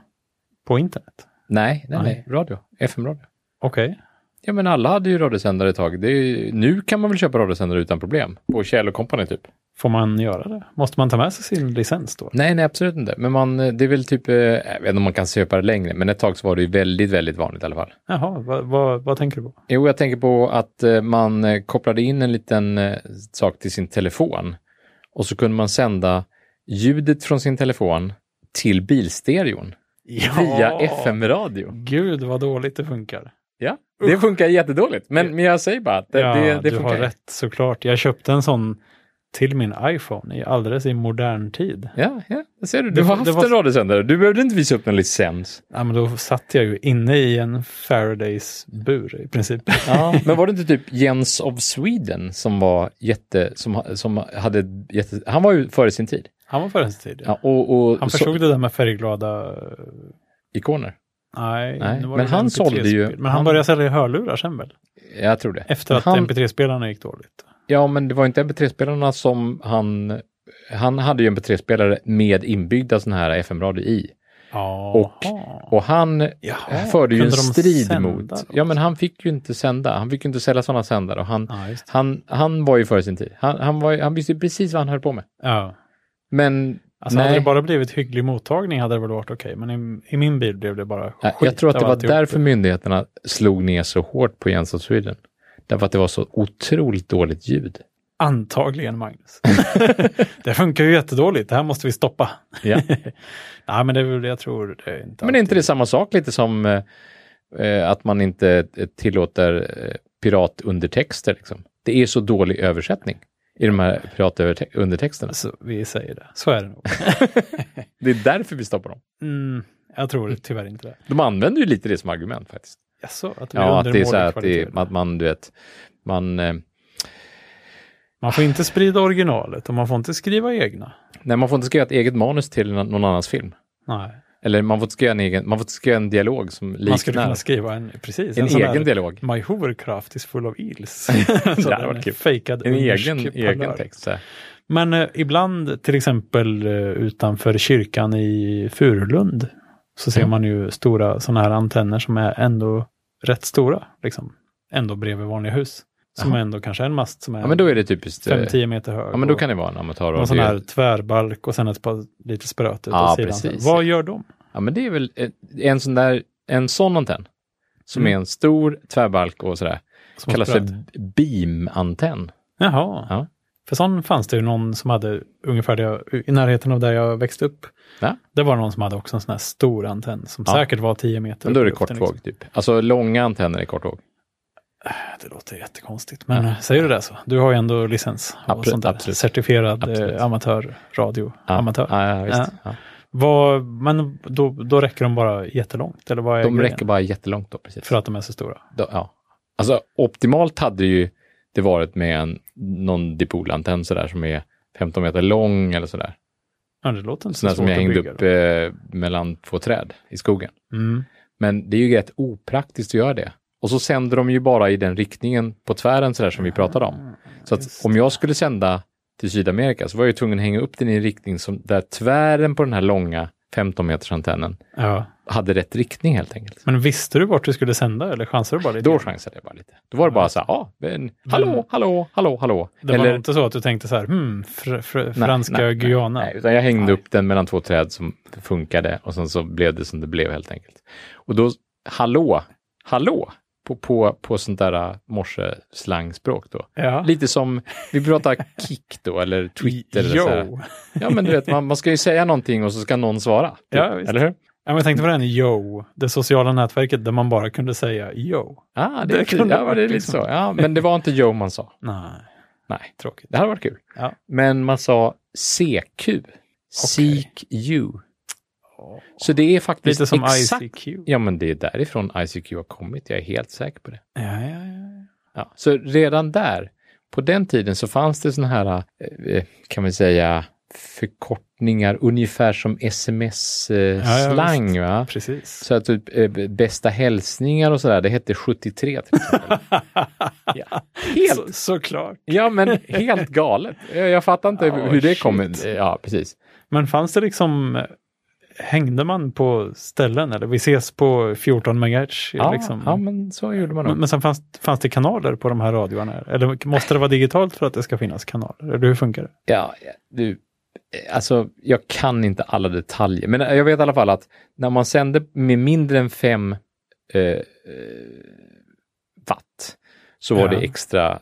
B: På internet?
A: Nej, nej,
B: Nej.
A: nej, radio. FM-radio.
B: Okej.
A: Ja, men alla hade ju radiosändare ett tag. Det är, ju- nu kan man väl köpa radiosändare utan problem. På Kjell Company typ.
B: Får man göra det? Måste man ta med sig sin licens då?
A: Nej, nej, absolut inte. Men man, eh, det är väl typ, eh, jag vet inte om man kan köpa det längre, men ett tag så var det ju väldigt, väldigt vanligt i alla fall.
B: Jaha, vad, vad, vad tänker du på?
A: Jo, jag tänker på att eh, man eh, kopplade in en liten eh, sak till sin telefon och så kunde man sända ljudet från sin telefon till bilstereon via FM-radio.
B: Gud vad dåligt det funkar.
A: Ja, det funkar jättedåligt. Men, men jag säger bara att det,
B: ja,
A: det, det
B: du
A: funkar.
B: har rätt såklart. Jag köpte en sån till min iPhone i alldeles i modern tid.
A: Ja, ja, det ser du. Du
B: Det-
A: har
B: det
A: haft
B: var-
A: en radiosändare. Du behövde inte visa upp någon licens.
B: Ja, men då satt jag ju inne i en Faradays bur i princip.
A: Men var det inte typ Jens of Sweden som var jätte, som, ha- som hade ett jätte, han var ju före sin tid.
B: Han var före sin tid.
A: Ja, och, och
B: Han
A: så-
B: förstod det där med färgglada... eh,
A: ikoner.
B: Nej,
A: Nej,
B: nu var
A: men
B: det
A: han
B: MP3
A: sålde ju-
B: spel. Men han,
A: han-
B: började sälja hörlurar sen väl?
A: Jag tror det.
B: Efter
A: Men
B: att
A: han,
B: MP3-spelarna gick dåligt.
A: Ja, men det var inte MP3-spelarna som han, han hade ju MP3-spelare med inbyggda sådana här FM-radio i.
B: Jaha.
A: Och- Och han
B: Jaha,
A: förde ju en
B: kunde de
A: strid
B: sända
A: mot...
B: då?
A: Ja, men han fick ju inte sända. Han fick ju inte sälja sådana sändare. Och han,
B: Ja, just det.
A: han, han var ju före sin tid. Han, han, var, ju- han visste ju precis vad han höll på med.
B: Ja.
A: Men äh,
B: Alltså
A: nej,
B: hade det bara blivit hygglig mottagning hade det väl varit okej, men i, i min bil blev det bara skit.
A: nej, jag tror att det
B: av
A: var
B: alltihop.
A: därför myndigheterna slog ner så hårt på Jens of Sweden. Därför att det var så otroligt dåligt ljud.
B: eh, Antagligen, Magnus. det funkar ju jättedåligt, det här måste vi stoppa.
A: Ja.
B: Nej, men det är väl det jag tror. Det är inte
A: Men är inte det samma sak lite som eh, eh, att man inte eh, tillåter eh, piratundertexter. Liksom. Det är så dålig översättning i de här piratundertexterna.
B: Så alltså, vi säger det. Så är det nog.
A: Alltså, Det är därför vi stoppar dem.
B: Mm, jag tror tyvärr inte det.
A: De använder ju lite det som argument faktiskt.
B: Jaså, att vi
A: Ja, att det är så här att, det,
B: kvalitet.
A: att man, du vet, man, eh,
B: Man får inte sprida originalet och man får inte skriva egna.
A: nej, man får inte skriva ett eget manus till nå- någon annans film.
B: Nej,
A: Eller man får inte skriva en egen, man får inte skriva en dialog som liknar
B: man skulle kunna skriva en, precis,
A: en,
B: sån
A: egen
B: här-
A: dialog.
B: My hovercraft is full of eels.
A: hade
B: det
A: varit kul.
B: Fejkad
A: En
B: ungersk
A: egen,
B: parlör.
A: egen text. Så här.
B: Men eh, ibland, till exempel eh, utanför kyrkan i Furulund, så ser
A: Mm.
B: man ju stora sådana här antenner som är ändå rätt stora. Liksom. Ändå bredvid vanliga hus. Som
A: Jaha.
B: ändå kanske är en mast som är,
A: Ja, men då är det typiskt, eh,
B: 5-10 meter hög.
A: ja men då
B: och
A: kan det vara en
B: någon sån här
A: amatöravdelning.
B: tvärbalk och sen ett par lite spröt ut
A: Ja,
B: åt sidan.
A: precis.
B: Vad gör de?
A: Ja, men det är väl eh, en sån där, en sån antenn som
B: Mm.
A: är en stor tvärbalk och sådär.
B: Som
A: Kallas
B: spröt?
A: för beam-antenn.
B: Jaha.
A: Ja.
B: För sån fanns det ju någon som hade ungefär det jag, i närheten av där jag växte upp.
A: Ja.
B: Det var någon som hade också en sån här stor antenn som
A: Ja.
B: säkert var 10 meter.
A: Men då är
B: upp i
A: det
B: luften,
A: kortvåg typ. Alltså långa antenner är kortvåg.
B: Liksom. Det låter jättekonstigt, men säger du det så? Du har ju ändå licens och
A: Absolut,
B: sånt där.
A: absolut.
B: Certifierad
A: Absolut.
B: eh, amatör, radio, amatör.
A: Ja, ja, visst. Ja.
B: Vad, men då, då räcker de bara jättelångt, eller vad är
A: De
B: grejen?
A: räcker bara jättelångt då, precis.
B: För att de är så stora.
A: Då, ja. Alltså optimalt hade ju det varit med en, någon dipolantenn sådär som är 15 meter lång eller sådär.
B: Ja, det låter inte så
A: Sån där
B: svårt
A: som jag
B: att
A: hängde
B: bygga
A: upp
B: då.
A: eh, mellan två träd i skogen.
B: Mm.
A: Men det är ju rätt opraktiskt att göra det. Och så sänder de ju bara i den riktningen på tvären sådär som vi pratade om. Så att
B: Ah, just
A: om jag skulle sända till Sydamerika så var jag ju tvungen att hänga upp den i en riktning som, där tvären på den här långa 15 meters antennen
B: Ja.
A: hade rätt riktning helt enkelt.
B: Men visste du vart du skulle sända eller chansade du bara lite?
A: Då chansade jag bara lite. Då var det bara så här, ja, men, hallå,
B: Men-
A: hallå, hallå, hallå.
B: Det var inte så att du tänkte så här, hmm, fr, fr, franska
A: nej,
B: Guyana.
A: Nej, utan jag hängde
B: Nej.
A: upp den mellan två träd som funkade och sen så blev det som det blev helt enkelt. Och då, hallå, hallå, på, på, på sånt där äh, morseslangspråk då.
B: Ja.
A: Lite som, vi pratar kick då, eller Twitter. Eller
B: Yo.
A: så här. Ja, men du vet, man, man ska ju säga någonting och så ska någon svara. typ.
B: Ja, visst.
A: eller hur?
B: Ja, men jag tänkte på den Yo, det sociala nätverket där man bara kunde säga Yo.
A: Ah, det,
B: Det
A: är
B: kunde
A: fint. ja, men
B: varit
A: det är lite
B: liksom.
A: så. Ja, men det var inte Joe man sa.
B: Nej,
A: Nej,
B: tråkigt.
A: det hade varit kul.
B: Ja.
A: Men man sa CQ. Seek you. Så det är faktiskt
B: Lite som
A: exakt
B: ICQ.
A: Ja, men det är därifrån ICQ har kommit. Jag är helt säker på det.
B: Ja, ja, ja.
A: Ja. Så redan där, på den tiden så fanns det sådana här, eh, kan man säga, förkortningar ungefär som
B: Ja, ja,
A: sms-slang.
B: visst.
A: va?
B: Precis.
A: så att typ, eh, bästa hälsningar och sådär, det hette 73 till exempel. ja. Helt,
B: Så, såklart.
A: ja, men helt galet. Jag, jag fattar inte
B: Ja,
A: hur det
B: shit.
A: kom. in. Ja, precis.
B: Men fanns det liksom, hängde man på ställen eller vi ses på 14 MHz?
A: Ja,
B: liksom.
A: ja, men så gjorde man nog.
B: Men, men sen fanns, fanns det kanaler på de här radioarna? Eller måste det vara digitalt för att det ska finnas kanaler? Eller hur funkar det?
A: Ja, du, alltså jag kan inte alla detaljer, men eh, jag vet i alla fall att när man sände med mindre än 5 eh, eh, watt så var
B: Ja.
A: det extra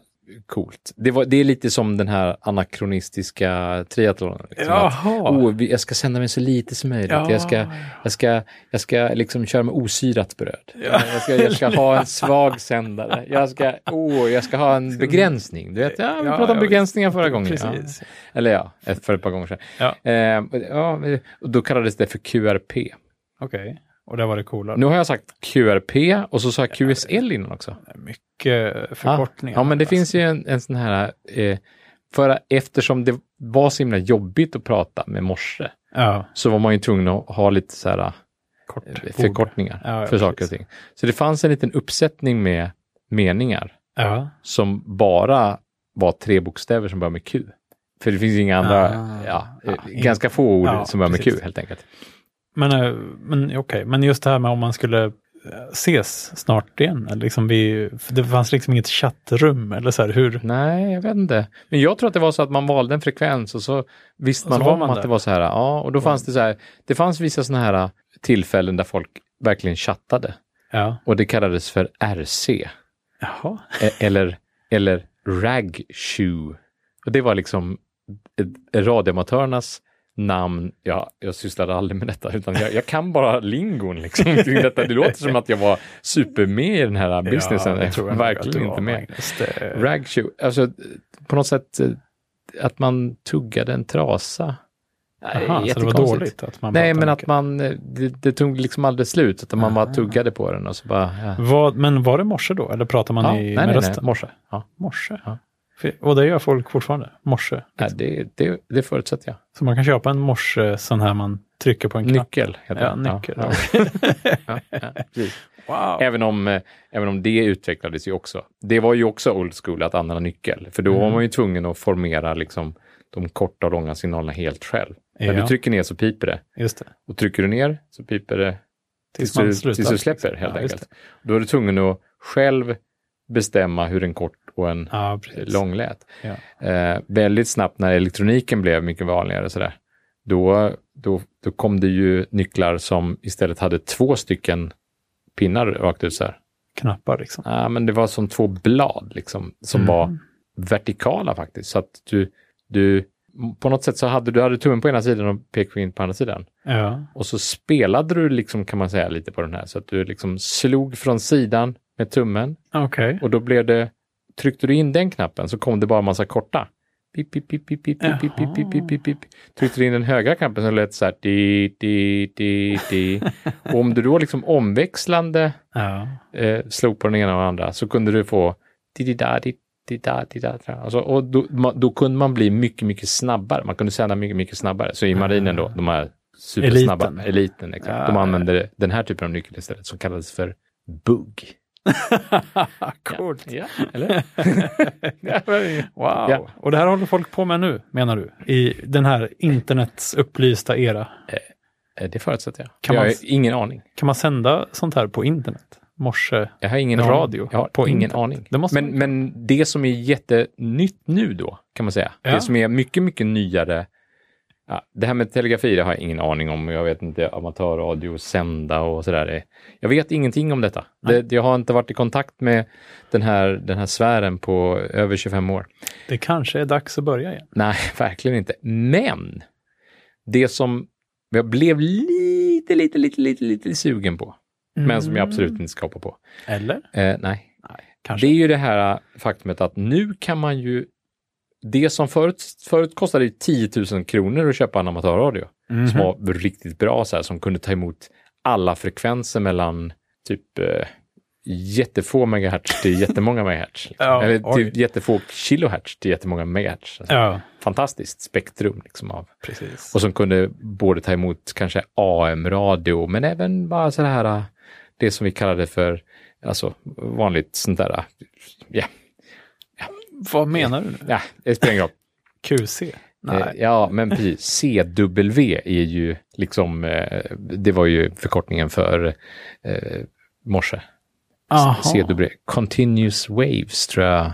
A: coolt. Det, var, det är lite som den här anakronistiska triathlonen. Liksom, att,
B: Jaha.
A: "Åh, vi- jag ska sända med så lite som möjligt. Jag ska, jag ska, jag ska liksom köra med osyrat bröd. Jag, ska, jag ska ha en svag sändare. Jag ska, oh, jag ska ha en begränsning. Du vet, ja, vi
B: Ja,
A: pratade om
B: ja,
A: begränsningar förra gången. Ja.
B: Precis.
A: Eller ja, ett- för ett par gånger sedan.
B: Ja.
A: Eh, och- ja, och då kallades det för QRP.
B: Okej, och där var det coolare.
A: Nu har jag sagt QRP och så sa jag QSL innan också.
B: Mycket eh, förkortningar.
A: Ja, men det finns ju en, en sån här... Eh, för, eftersom det var så himla jobbigt att prata med morse
B: Ja,
A: så var man ju tvungen att ha lite så här
B: kort.
A: eh, förkortningar
B: Ja, ja,
A: för saker och
B: precis.
A: ting. Så det fanns en liten uppsättning med meningar
B: Ja.
A: som bara var tre bokstäver som börjar med Q. För det finns ju inga andra,
B: Ah.
A: ja, eh,
B: Ah, in-
A: ganska få ord
B: Ja,
A: som börjar med Q
B: precis.
A: helt enkelt.
B: Men, eh, men okej, men just det här med om man skulle eh, ses snart igen. eller Liksom vi, för det fanns liksom inget chattrum eller så här hur.
A: Nej, jag vet inte. Men jag tror att det var så att man valde en frekvens och så visste
B: Och så
A: man
B: var
A: om
B: man
A: att
B: där.
A: det var så här. Ja, och då fanns det så här. Det fanns vissa sådana här tillfällen där folk verkligen chattade
B: Ja.
A: och det kallades för RC
B: Jaha.
A: e- eller, eller RAG shoe. Och det var liksom eh, radioamatörernas namn. Jag, jag sysslade aldrig med detta, utan jag, jag kan bara lingon. Liksom, kring detta. Det låter som att jag var supermed i den här businessen.
B: det tror jag nog att du
A: Verkligen
B: var, eh,
A: inte med.
B: Magnus. Det,
A: Ragshoe, alltså på något sätt eh, att man tuggade en trasa. Nej,
B: Aha, så det var
A: jättekonstigt.
B: dåligt att man
A: Nej,
B: pratar
A: men att
B: mycket.
A: man, eh, det, det tog liksom aldrig slut, utan man bara
B: Aha. Mm.
A: tuggade på den och så bara, ja.
B: Vad, men var det morse då? Eller pratar man
A: ja
B: i,
A: nej,
B: med
A: nej, nej,
B: rösten?
A: morse. Ja.
B: Morse.
A: Ja.
B: För- Och det gör folk fortfarande. Morse.
A: Nej, det, det, det förutsätter jag.
B: Så man kan köpa en morse eh, sån här man trycker på en knapp.
A: Nyckel heter
B: Ja,
A: den.
B: nyckel.
A: Ja, ja, ja, precis.
B: Wow.
A: även, om, eh, även om det utvecklades ju också. Det var ju också old school att använda nyckel, för då
B: Mm.
A: var man ju tvungen att formera liksom, de korta och långa signalerna helt själv. När
B: Ja.
A: du trycker ner så piper det.
B: Just det.
A: Och trycker du ner så piper det tills,
B: man
A: du,
B: slutar,
A: tills du släpper
B: liksom.
A: helt
B: Ja, just
A: enkelt. Då är du tvungen att själv bestämma hur en kort och en
B: Ja, precis.
A: lång lät.
B: Ja.
A: Eh, väldigt snabbt när elektroniken blev mycket vanligare sådär, då, då, då kom det ju nycklar som istället hade två stycken pinnar rakt ut så här.
B: Knappar liksom.
A: Ah, men det var som två blad liksom, som
B: Mm.
A: var vertikala faktiskt. Så att du, du, på något sätt så hade du hade tummen på ena sidan och pekfingret på andra sidan.
B: Ja.
A: Och så spelade du, liksom, kan man säga, lite på den här. Så att du liksom slog från sidan med tummen
B: Okej.
A: och då blev det, tryckte du in den knappen så kom det bara en massa korta. Pip, pip, pip, pip, pip, pip, pip, pip, pip, pip, pip. Tryckte du in den högra knappen så lät det så här. Di, di, di, di. Och om du då liksom omväxlande
B: Ja.
A: eh, slog på den ena och den andra så kunde du få di, di, da, di, di, da, di, da, da. Alltså, och då, ma, då kunde man bli mycket, mycket snabbare. Man kunde sända mycket, mycket snabbare. Så i marinen då, de här supersnabba
B: Eliten.
A: eliten, exakt, de
B: Ja.
A: använde den här typen av nyckel istället som kallades för bugg.
B: Coolt.
A: Ja, eller? ja, men-
B: Wow.
A: Ja.
B: Och det här håller folk på med nu, menar du? I den här internets upplysta era.
A: Eh, det förutsätter jag.
B: Kan
A: jag
B: man-
A: har ingen aning.
B: Kan man sända sånt här på internet? Morse?
A: Jag har ingen
B: Radio
A: aning. Jag har
B: på
A: ingen
B: internet.
A: aning.
B: Det måste man
A: men, men det som är jättenytt nu då, kan man säga.
B: Ja.
A: Det som är mycket, mycket nyare. Ja, det här med telegrafi, det har jag ingen aning om. Jag vet inte, amatörradio, sända och sådär. Det- Jag vet ingenting om detta. Det, jag har inte varit i kontakt med den här, den här sfären på över 25 år.
B: Det kanske är dags att börja igen.
A: Nej, verkligen inte. Men det som jag blev lite, lite, lite, lite, lite sugen på, men som jag absolut inte ska hoppa på.
B: Mm. Eller?
A: Eh, nej,
B: Nej, kanske.
A: det är ju det här äh, faktumet att nu kan man ju... Det som förut, förut kostade ju 10 000 kronor att köpa en amatörradio
B: Mhm.
A: som var riktigt bra, så här, som kunde ta emot alla frekvenser mellan typ eh, jättefå megahertz till jättemånga megahertz. Liksom.
B: Ja,
A: Eller
B: oj.
A: till jättefå kilohertz till jättemånga megahertz. Alltså,
B: Ja,
A: Fantastiskt spektrum liksom, av
B: precis.
A: och som kunde både ta emot kanske AM-radio, men även bara så här, äh, det som vi kallade för alltså, vanligt sånt där, äh, ja,
B: Vad menar du nu?
A: ja det spelar ingen roll.
B: QC?
A: Eh, Ja, men precis. CW är ju liksom, eh, det var ju förkortningen för eh, morse.
B: Aha.
A: CW, Continuous Waves tror jag eh,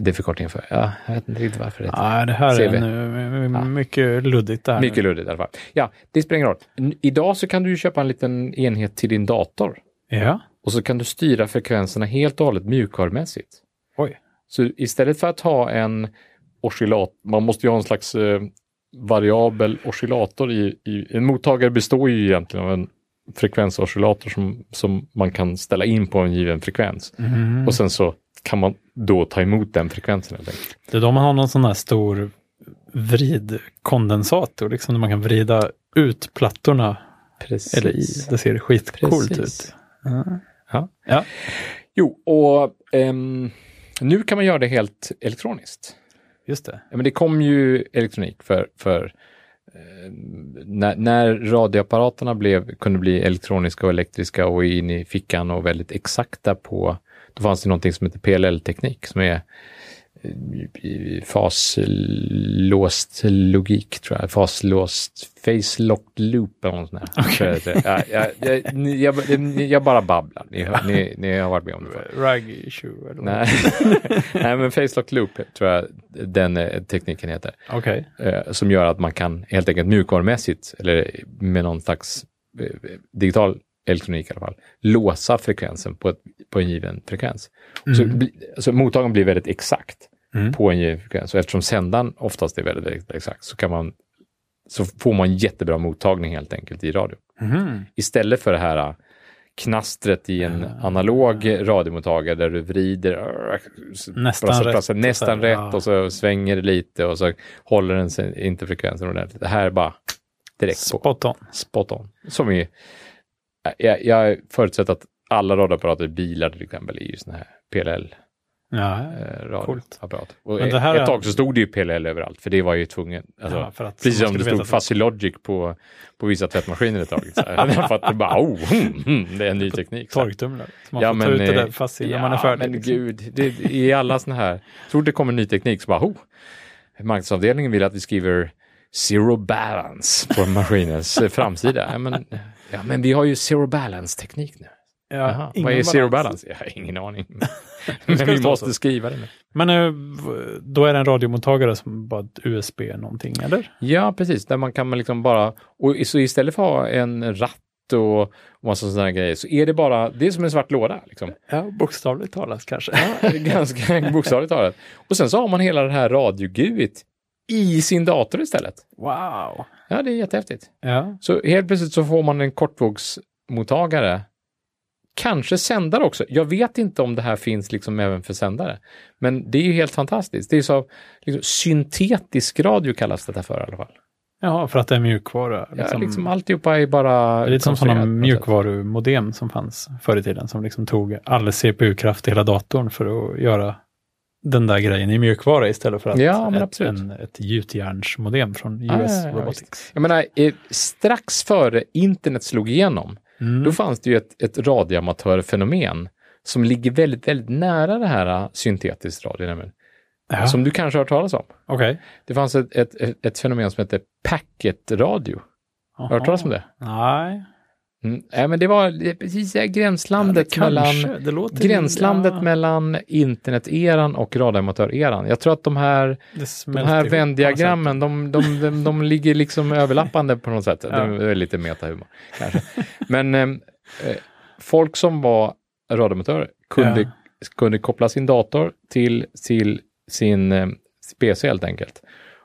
A: det är förkortningen för. Ja, jag vet inte riktigt varför det heter.
B: Nej, det här
A: CV.
B: är nu mycket luddigt där.
A: Mycket luddigt i alla fall. Ja, det spelar ingen roll. N- idag så kan du ju köpa en liten enhet till din dator.
B: Ja,
A: Och så kan du styra frekvenserna helt och hållet mjukvarumässigt.
B: oj.
A: Så istället för att ha en oscillat, man måste ju ha en slags eh, variabel oscillator i, i, en mottagare består ju egentligen av en frekvensoscillator som, som man kan ställa in på en given frekvens. Och sen så kan man då ta emot den frekvensen. helt enkelt.
B: Det är då man har någon sån här stor vridkondensator, liksom där man kan vrida ut plattorna.
A: Precis.
B: Eller i. Det ser skitcoolt
A: Precis.
B: ut. Ja.
A: Ja.
B: Ja.
A: Jo, och ehm, nu kan man göra det helt elektroniskt.
B: Just det.
A: Ja, men det kom ju elektronik för, för eh, när, när radioapparaterna blev, kunde bli elektroniska och elektriska och in i fickan och väldigt exakta på, då fanns det någonting som heter PLL-teknik som är eh, i faslåst logik, tror jag. Faslåst, face locked loop eller något sånt där. Så, ja, ja, jag, ni- jag, jag bara babblar. Ni, hör- ni, ni har varit med om det förr.
B: Rag issue eller vad?
A: Nej. Nej, men Facelock Loop tror jag den eh, tekniken heter.
B: Okej.
A: Eh, som gör att man kan helt enkelt mjukvarumässigt, eller med någon slags eh, digital elektronik i alla fall, låsa frekvensen på, ett, på en given frekvens. Så, bli, alltså, mottagaren blir väldigt exakt
B: Mm.
A: på en given frekvens. Och eftersom sändaren oftast är väldigt, väldigt exakt så kan man så får man jättebra mottagning helt enkelt i radio. Mm-hmm.
B: Mhm.
A: Istället för det här äh, knastret i en
B: Ah.
A: analog radiomottagare där du vrider äh, s-
B: Nästan
A: prassar,
B: rätt,
A: prassar,
B: så
A: nästan
B: här,
A: rätt
B: ja.
A: och så svänger det lite och så håller den sig inte frekvensen ordentligt. Det här är bara direkt på.
B: Spot on.
A: Spot on. Som ju, jag, jag förutsätter att alla radioapparater i bilar till exempel är ju såna här PLL
B: Ja,
A: eh,
B: Coolt.
A: radioapparat. Och
B: Men det här
A: ett
B: är-
A: tag så stod det ju PLL överallt, för det var ju tvungen. Alltså,
B: ja, för att
A: Precis
B: man
A: som det
B: skulle
A: stod
B: veta att-
A: Fuzzy Logic på, på vissa tvättmaskiner ett tag. Så här. för att det bara, oh, hmm, hmm, det är en ny teknik. Så här.
B: Torktumlare. Så man
A: Ja,
B: får
A: men,
B: ta ut det
A: eh,
B: där fast innan
A: Ja,
B: man är färdig.
A: men
B: liksom.
A: gud, det, i alla sådana här, så fort det kommer ny teknik så bara, oh, marknadsavdelningen vill att vi skriver zero balance på maskinens eh, framsida. Ja men, ja, men vi har ju zero balance-teknik nu.
B: Ja,
A: Jaha,
B: ingen
A: vad är zero
B: balans.
A: balance? Jag har ingen aning.
B: ska
A: men
B: det
A: vi
B: stå
A: måste
B: så.
A: skriva det nu.
B: Men eh, v- då är det en radiomottagare som bara ett USB någonting, eller?
A: Ja, precis. Där man kan man liksom bara... Och i- så istället för att ha en ratt och och massa sådana här grejer så är det bara... Det är som en svart låda. Liksom.
B: Ja, bokstavligt talat kanske.
A: Ganska bokstavligt talat. Och sen så har man hela det här radioguit i sin dator istället.
B: Wow!
A: Ja, det är jättehäftigt.
B: Ja,
A: Så helt plötsligt så får man en kortvågsmottagare. Kanske sändare också. Jag vet inte om det här finns liksom även för sändare. Men det är ju helt fantastiskt. Det är så liksom, syntetisk radio kallas det här för i alla fall.
B: Jaha, för att det är mjukvara.
A: Ja,
B: liksom.
A: liksom alltihopa är bara...
B: det är lite som
A: konstruerat
B: sådana
A: på något
B: mjukvarumodem som fanns förr i tiden, som liksom tog all CPU-kraft i hela datorn för att göra den där grejen i mjukvara istället för att
A: Ja, men
B: ett,
A: absolut. Ah,
B: en, ett gjutjärnsmodem från US
A: ja, ja, ja,
B: Robotics.
A: sätt. Jag menar, eh, strax före internet slog igenom,
B: Mm.
A: då fanns det ju ett, ett radioamatörfenomen som ligger väldigt, väldigt nära det här eh, syntetiskt radio, nämligen,
B: Ja,
A: som du kanske har hört talas om.
B: Okej.
A: Det fanns ett, ett, ett, ett fenomen som hette packetradio. Har du hört talas om det?
B: Nej.
A: Mm. Nej, men det var det- precis det här gränslandet mellan...
B: det låter
A: Gränslandet
B: ja,
A: mellan internet-eran och radioamatör-eran. Jag tror att de här
B: det
A: De
B: smälter
A: här
B: ihop på något
A: vändiagrammen, de, de, de, de ligger liksom överlappande på något sätt.
B: Ja.
A: Det är lite metahumor kanske. Men eh, eh, folk som var radioamatörer kunde, kunde koppla sin dator till, till sin eh, PC helt enkelt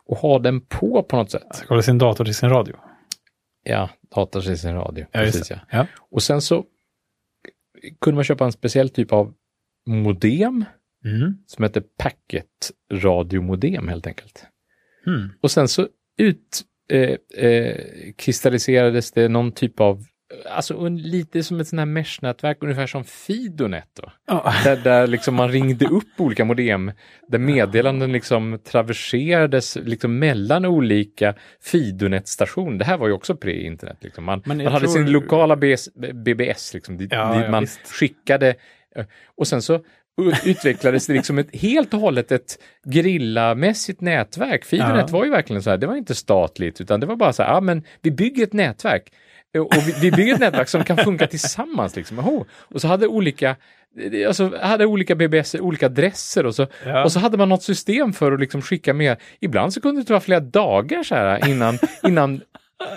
A: och ha den på på något sätt.
B: sätt. Kolla sin dator till sin radio.
A: Ja, dator till sin radio.
B: Ja, just
A: precis, ja.
B: Ja.
A: Och sen så kunde man köpa en speciell typ av modem
B: Mm.
A: som heter packet-radiomodem helt enkelt.
B: Mm.
A: Och sen så utkristalliserades eh, eh, kristalliserades det någon typ av, alltså un, lite som ett sånt här mesh-nätverk, ungefär som Fidonet då.
B: Ja.
A: Där, där liksom man ringde upp olika modem, där meddelanden liksom traverserades liksom mellan olika Fidonet-stationer. Det här var ju också pre-internet. Liksom. Man,
B: Men jag
A: man hade
B: tror-
A: sin lokala BS, BBS, liksom, dit,
B: Ja,
A: dit
B: ja,
A: man
B: visst.
A: skickade. eh, Och sen så u- utvecklades det liksom ett, helt och hållet ett grillamässigt nätverk. Fidonet
B: Ja.
A: var ju verkligen så här, det var inte statligt, utan det var bara så här, ja men vi bygger ett nätverk. Eh, Och vi, vi bygger ett nätverk som kan funka tillsammans. Liksom. Oho. Och så hade olika eh, Alltså hade olika BBS, olika adresser och så,
B: Ja.
A: och så hade man något system för att liksom skicka med. Ibland så kunde det ta flera dagar så här innan, innan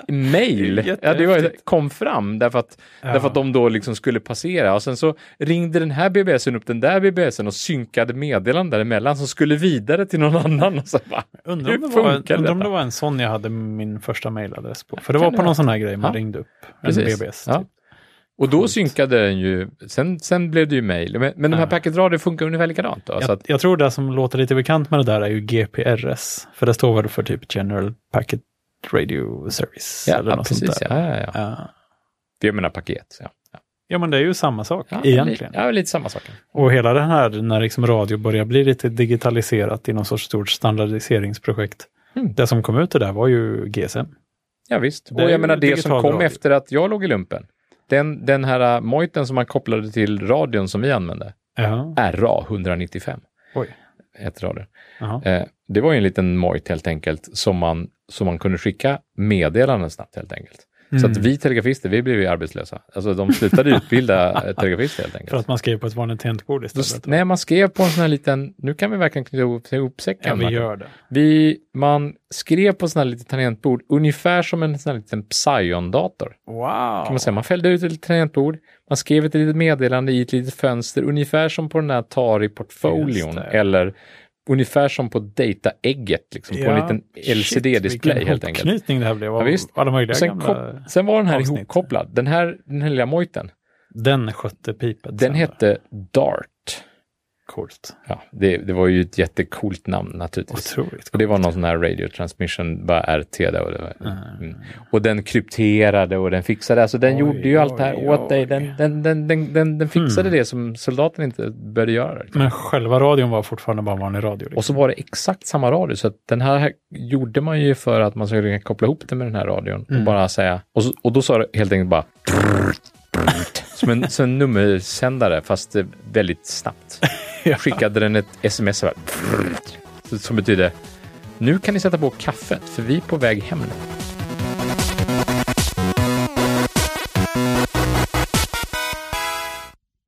B: Det är
A: mail ja, det var,
B: jättehäftigt.
A: kom fram därför att, därför att de då liksom skulle passera och sen så ringde den här BBSen upp den där BBSen och synkade meddelanden däremellan som skulle vidare till någon annan. Och så bara,
B: Undrar om,
A: Hur
B: det var,
A: funkar
B: undrar om
A: detta?
B: det var en sån jag hade min första mejladress på. För det
A: Kan
B: var
A: det
B: på
A: vara?
B: någon sån här grej man
A: Ja.
B: ringde upp. En
A: Precis.
B: BBS.
A: Ja.
B: Typ.
A: och då
B: Coolt.
A: synkade den ju, sen, sen blev det ju mail. Men, men de här
B: Ja.
A: packetradio funkar ungefär likadant. Då, så
B: jag,
A: att,
B: jag tror det som låter lite bekant med det där är ju GPRS. För det står väl för typ General Packet Radio Service.
A: ja,
B: eller något
A: precis.
B: sånt där.
A: Ja, ja, ja.
B: Ja.
A: Jag menar paket. Ja.
B: ja, men det är ju samma sak
A: Ja,
B: egentligen.
A: li- Ja, lite samma sak.
B: Och hela det här när liksom radio börjar bli lite digitaliserat i någon sorts stort standardiseringsprojekt.
A: Mm.
B: Det som kom ut det där var ju GSM.
A: Ja, visst.
B: Det är
A: och jag
B: ju
A: menar det som
B: digital
A: kom
B: radio.
A: efter att jag låg i lumpen. Den, den här äh, mojten som man kopplade till radion som vi använde,
B: Ja.
A: RA 195,
B: Oj.
A: heter radion.
B: Jaha.
A: Eh, det var ju en liten mojt helt enkelt som man, som man kunde skicka meddelanden snabbt helt enkelt. Så
B: Mm.
A: att vi telegrafister, vi blev ju arbetslösa. Alltså de slutade utbilda eh, telegrafister helt
B: För
A: enkelt.
B: att man skrev på ett vanligt tangentbord
A: Då,
B: istället.
A: nej, man skrev på en sån här liten, nu kan vi verkligen knyta ihop, ihop säcken.
B: Ja, vi
A: Martin.
B: gör det.
A: Vi, man skrev på sån här litet tangentbord, ungefär som en sån här liten Psion-dator.
B: Wow!
A: Kan man, säga. man fällde ut ett litet tangentbord, man skrev ett litet meddelande i ett litet fönster, ungefär som på den här Atari-portfolion
B: Just det.
A: eller ungefär som på data-ägget, liksom, på en
B: Ja,
A: liten
B: Shit,
A: LCD-display
B: vilken
A: helt enkelt.
B: hopknytning det här blev av
A: Ja, visst.
B: alla möjliga
A: Och sen,
B: gamla.
A: kop- sen var den här
B: avsnitt.
A: ihopkopplad. Den här, den här lilla mojten,
B: Den skötte pipet.
A: den
B: sen då.
A: hette Dart.
B: Coolt.
A: Ja, det, det var ju ett jättecoolt namn naturligtvis.
B: Otroligt
A: Och det var någon sån här radio transmission, bara RT där. Och, det var,
B: Mm.
A: mm. och den krypterade och den fixade, alltså den
B: Oj,
A: gjorde ju allt det här
B: oj,
A: åt dig. Den,
B: oj. Hmm.
A: den, den, den, den, den fixade det som soldaten inte började göra.
B: Men själva radion var fortfarande bara en vanlig radio. Liksom.
A: Och så var det exakt samma radio, så att den här gjorde man ju för att man skulle kunna koppla ihop det med den här radion. Och, bara säga, och, så, och då sa det helt enkelt bara som en, som en nummersändare, fast eh, väldigt snabbt.
B: Ja.
A: Skickade den ett sms så här, som betyder nu kan ni sätta på kaffet, för vi är på väg hem nu.